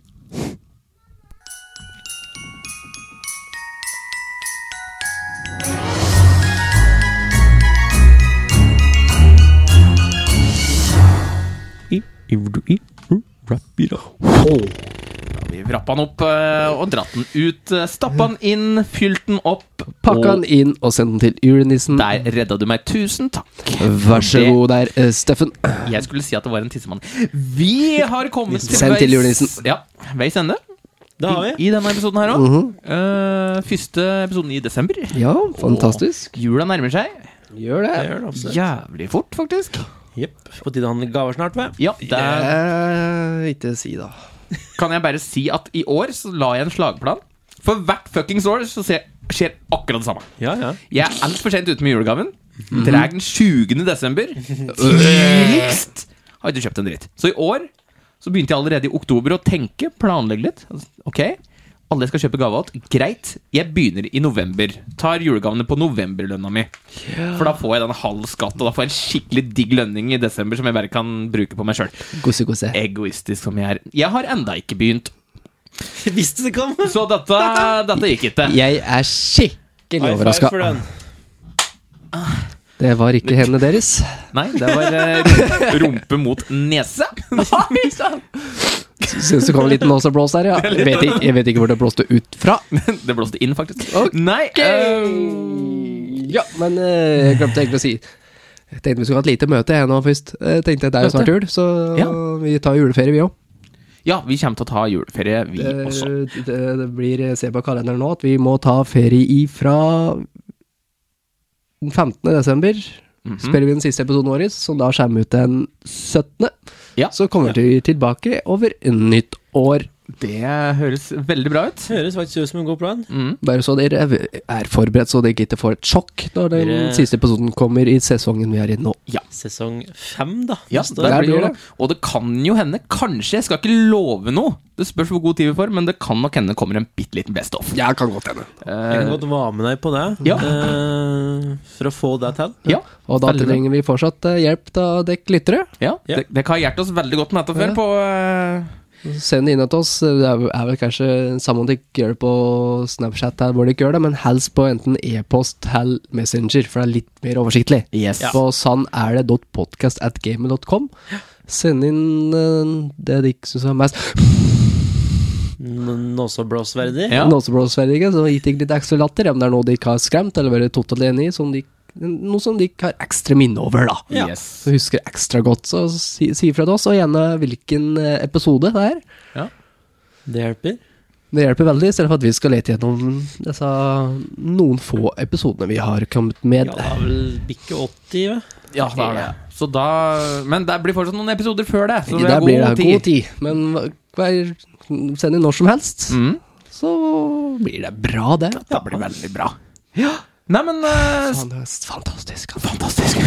S2: Vi vrappa den opp eh, og dratt den ut. eh, Stappa den inn, fylt den opp.
S1: Pakka den inn og send den til julenissen.
S2: Og der redda du meg. Tusen takk.
S1: Vær så
S2: Det-
S1: god der, eh, Steffen.
S2: Jeg skulle si at det var en tissemann. Vi har kommet til
S1: Send til julenissen.
S2: ja, veis ende
S3: Det har vi.
S2: i denne episoden her òg. første episoden i desember.
S1: Mhm. Ja, fantastisk.
S2: Jula nærmer seg.
S1: Gjør
S3: Det
S1: det.
S3: gjør det absolutt.
S2: Jævlig fort, faktisk.
S3: Jepp. På tide han gaver snart, vel?
S2: Ja, det er,
S1: Eh, ikke si, da.
S2: kan jeg bare si at i år så la jeg en slagplan. For hvert fuckings år så ser, skjer akkurat det samme.
S3: Ja, ja.
S2: Jeg er altfor sent ute med julegaven. Dreg den 20. desember. Tidligst har jeg ikke kjøpt en dritt. Så i år så begynte jeg allerede i oktober å tenke, planlegge litt. Ok, alle jeg skal kjøpe gave av, greit. Jeg begynner i november. Tar julegavene på novemberlønna mi. For da får jeg den halv skatt, og da får jeg en skikkelig digg lønning i desember som jeg bare kan bruke på meg sjøl.
S1: Gosse, gosse.
S2: Egoistisk som jeg er. Jeg har enda ikke begynt.
S3: Visste det kom!
S2: Så dette, dette gikk ikke.
S1: Jeg er skikkelig overraska.
S3: for den.
S1: Det var ikke hendene deres.
S2: Nei, det var eh, rumpe- rumpe mot nese. Nei, sant?
S1: Syns det kom en liten blås der, ja. Jeg vet, ikke, jeg vet ikke hvor det blåste ut fra.
S2: Det blåste inn, faktisk.
S1: Ok.
S2: Nei
S1: Ja, men eh, jeg glemte egentlig å si Jeg tenkte vi skulle ha et lite møte jeg nå først. Jeg tenkte at Det er jo snart jul, så
S2: Ja.
S1: vi tar juleferie, vi òg.
S2: eh, Ja, vi kommer til å ta juleferie, vi
S1: Det,
S2: også.
S1: Eh, det, det blir Se på kalenderen nå at vi må ta ferie ifra den 15. desember. Spiller vi den siste episoden vår, som da skjermer ut den 17.
S2: Ja.
S1: Så kommer vi tilbake over nytt år.
S2: Det høres veldig bra ut.
S3: Det høres faktisk ut som en god plan.
S1: Bare så dere er forberedt, så dere ikke får et sjokk når den
S3: Dere-
S1: siste episoden kommer i sesongen vi er i nå.
S3: Sesong fem, da.
S2: Ja,
S3: Neste år.
S2: der
S1: der
S2: blir
S1: blir
S2: det. Og det kan jo hende, kanskje, jeg skal ikke love noe, det spørs hvor god tid vi får, men det kan nok hende det kommer en bitte liten best off.
S1: Jeg kan godt hende.
S3: Jeg kan godt være med deg på det,
S2: Ja.
S3: eh, for å få det til.
S2: Ja,
S1: Og da
S2: Veldig bra.
S1: trenger vi fortsatt eh, hjelp av dekk lyttere.
S2: ja.
S3: Ja.
S2: Det, det har hjulpet oss veldig godt med dette før.
S1: Ja.
S2: På, eh,
S1: Send det inn til oss. Det er er vel kanskje sammen dere gjør det på Snapchat, her hvor dere gjør det, men helst på enten e-post eller Messenger, for det er litt mer oversiktlig.
S2: yes.
S1: På sannerde.podcast.gamet.com. Send inn eh, det dere syns er mest
S3: N- Nåsa blåsverdig.
S2: Ja.
S1: nåseblåsverdige, så gitt dere litt ekstra latter, om det er noe dere ikke har skremt eller vært totalt enig i, som dere- noe som dere har ekstra minne over, da.
S3: Ja.
S2: Yes.
S1: Så husker ekstra godt, så si, si fra til oss, og gjerne hvilken eh, episode det er.
S3: Det hjelper.
S1: Det hjelper veldig, i stedet for at vi skal lete gjennom disse noen få episodene vi har kommet
S3: Ja,
S1: med.
S3: det er vel bikke 80, ja.
S2: Ja, det er det. Så da, men det blir fortsatt noen episoder før altså, det, så vi
S1: Der
S2: har
S1: blir det
S2: god tid.
S1: god tid, men hva- hver, send inn når som helst,
S2: Mm.
S1: så blir det bra, det.
S2: Det blir veldig bra. Ja. Nei, men eh,
S1: Faen, det er Fantastisk. altså.
S2: Fantastisk.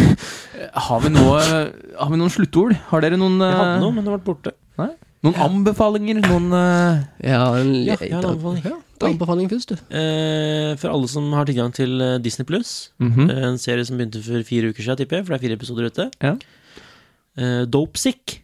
S2: Har vi, noe, har vi noen sluttord? Har dere noen
S3: Jeg hadde
S2: eh,
S3: noe, men det ble borte.
S2: Nei? Noen anbefalinger? Noen eh,
S1: Jeg har en,
S3: Ja, jeg har en anbefaling.
S1: Ja, ta anbefaling først, du.
S3: Eh, for alle som har tilgang til eh, Disney Pluss,
S2: mhm.
S3: en serie som begynte for fire uker siden, tipper jeg, for det er fire episoder ute.
S2: Ja.
S3: Eh, Dopesick.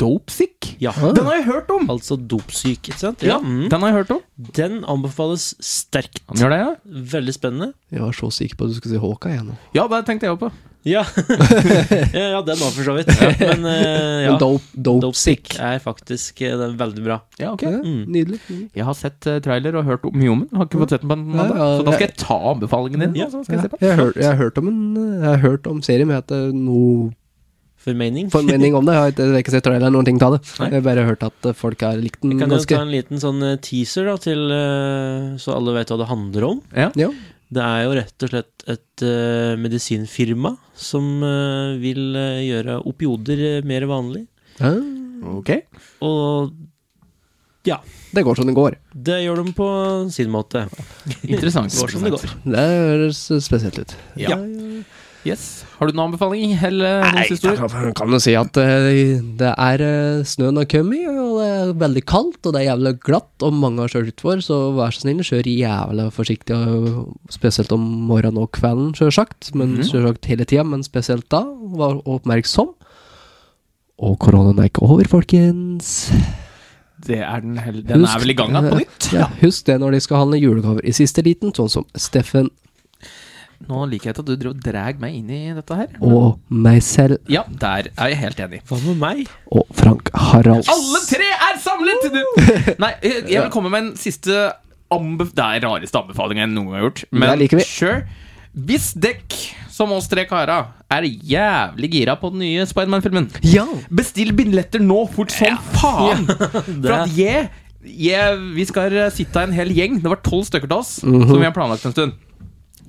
S2: Dopesick?
S3: Ja.
S2: Den har jeg hørt om!
S3: Altså dopsyk, ikke sant?
S2: Ja,
S3: Ah. Mm.
S2: den har jeg hørt om.
S3: Den anbefales sterkt.
S2: Han gjør det, ja?
S3: Veldig spennende.
S1: Jeg var så sikker på at du skulle si Håka igjen nå.
S2: Ja, det tenkte jeg òg på.
S3: Ja, ja den var for så vidt. Men eh, ja,
S1: Men dope, dope,
S3: Dope
S1: sick.
S3: er faktisk eh, den er veldig bra.
S2: Ja, ok.
S1: Ja,
S3: Mm.
S1: Nydelig. Mm.
S2: Jeg har sett eh, trailer og hørt mye om den. Har ikke fått sett den på en mandag.
S1: Ja, ja,
S2: så da skal jeg ta anbefalingen din.
S3: Ja.
S2: og så skal
S1: Ja, jeg,
S2: jeg se på. den.
S1: har hørt, jeg har hørt om en Jeg har hørt om serien, men jeg har ikke noe
S3: Formening.
S1: formening om det. Jeg har ikke, jeg har ikke sett traileren eller noen ting til det.
S3: Nei.
S1: Jeg har bare hørt at eh, folk har likt den
S3: Vi kan jo
S1: ganske
S3: ta en liten sånn eh, teaser, da, til, eh, så alle vet hva det handler om.
S1: ja.
S3: Det er jo rett og slett et eh, medisinfirma som eh, vil eh, gjøre opioder eh, mer vanlig.
S1: ja.
S2: Ok.
S3: Og
S1: Det går som det går.
S3: det gjør de på sin måte.
S2: Interessant.
S3: Det går som det går.
S1: Det høres spesielt ut.
S2: Ja. Yes. Har du noen anbefaling? Eller noen
S1: Nei, jeg
S2: historier?
S1: kan- kan jo si at eh, det er eh, snøen har kommet, og det er veldig kaldt, og det er jævlig glatt, og mange har kjørt utfor, så vær så snill, kjør jævlig forsiktig, og spesielt om morgenen og kvelden, sjølsagt, men Mhm. sjølsagt hele tida, men spesielt da, vær oppmerksom. Og koronaen er ikke over, folkens.
S2: Det er den, hel- den er vel i gang igjen på nytt?
S1: eh, Ja, husk det når de skal handle julegaver i siste liten, sånn som Steffen
S2: Nå liker jeg ikke at du driver og drar meg inn i dette her.
S1: og meg selv
S2: Ja, der er jeg helt enig.
S3: Hva med meg?
S1: og Frank Harald.
S2: Alle tre er samlet! Du. Nei, jeg jeg vil komme med en siste anbef... Det er rareste anbefaling jeg noen gang har gjort. Men
S1: Det liker vi.
S2: sure. Hvis dekk, som oss tre kara, er jævlig gira på den nye Spiderman-filmen
S1: Ja!
S2: Bestill billetter nå, fort som faen! For at jeg, jeg Vi skal sitte en hel gjeng. Det var tolv stykker til oss,
S1: Mhm.
S2: som vi har planlagt en stund.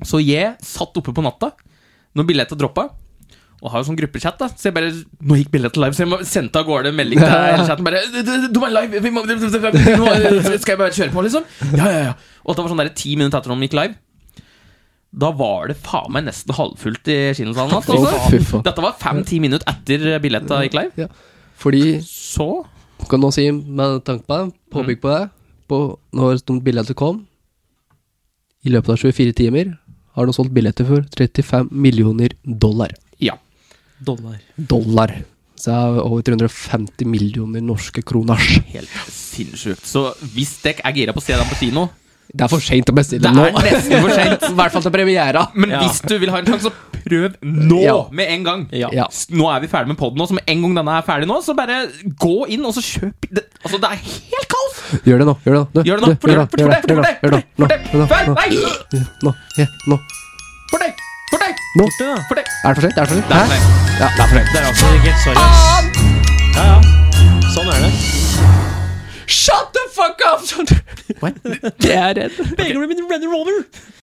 S2: Så jeg satt oppe på natta når billettene droppa. Og har jo sånn gruppechat, da. Så jeg bare Nå gikk billetten live, så jeg må- sendte av gårde en melding til hele chatten. Bare «Du- du- 'Du er live! Vi må, nå skal jeg bare kjøre på', liksom. Ja, ja, ja. Og det var sånn der ti minutter etter at de gikk live. Da var det faen meg nesten halvfullt i Skinnelsalen. Altså.
S1: Å, fy faen.
S2: Dette var fem-ti minutter etter billetta gikk live.
S1: Ja. Fordi
S2: Så
S1: kan nå si med tanke på det,
S2: Mm.
S1: påbygg på det, på når de billetter kom, i løpet av 24 timer, har de solgt billetter for 35 millioner dollar.
S2: ja.
S3: Dollar.
S1: Dollar. Så det er over 350 millioner norske kroners.
S2: Helt sinnssykt. Så hvis dere er gira på å se den på kino
S1: Det er for seint å
S2: Det
S1: bestille nå.
S2: er nesten for sent.
S1: I hvert fall til premiera.
S2: Men
S3: Ja.
S2: hvis du vil ha en sjanse, så prøv nå!
S1: Ja.
S2: Med en gang.
S3: Ja.
S1: Ja.
S2: S- Nå er vi ferdig med poden, så med en gang denne er ferdig nå, så bare gå inn og så kjøp det, Altså, det er helt kaos!
S1: Gjør det nå. Gjør det nå. Du,
S2: Gjør det nå,
S1: du,
S2: fort, fort,
S1: gjør det,
S2: fort,
S1: gjør det,
S2: fort,
S1: gjør det, gjør det,
S2: fort,
S1: gjør det,
S2: fort,
S1: gjør det, Nå. ja, Nå.
S2: For deg! For deg!
S1: Nå.
S3: Borte, da.
S2: For deg!
S1: Er det for sent? Er det for sent?
S2: Det er for
S1: Hæ?
S2: deg.
S1: Ja, det er for sent.
S3: Det er altså ikke Sorry, ass. Ja, ja. Sånn er det.
S1: Shut the fuck up!
S2: What?
S1: Det er redd.
S3: Begge blir min Renner Rover!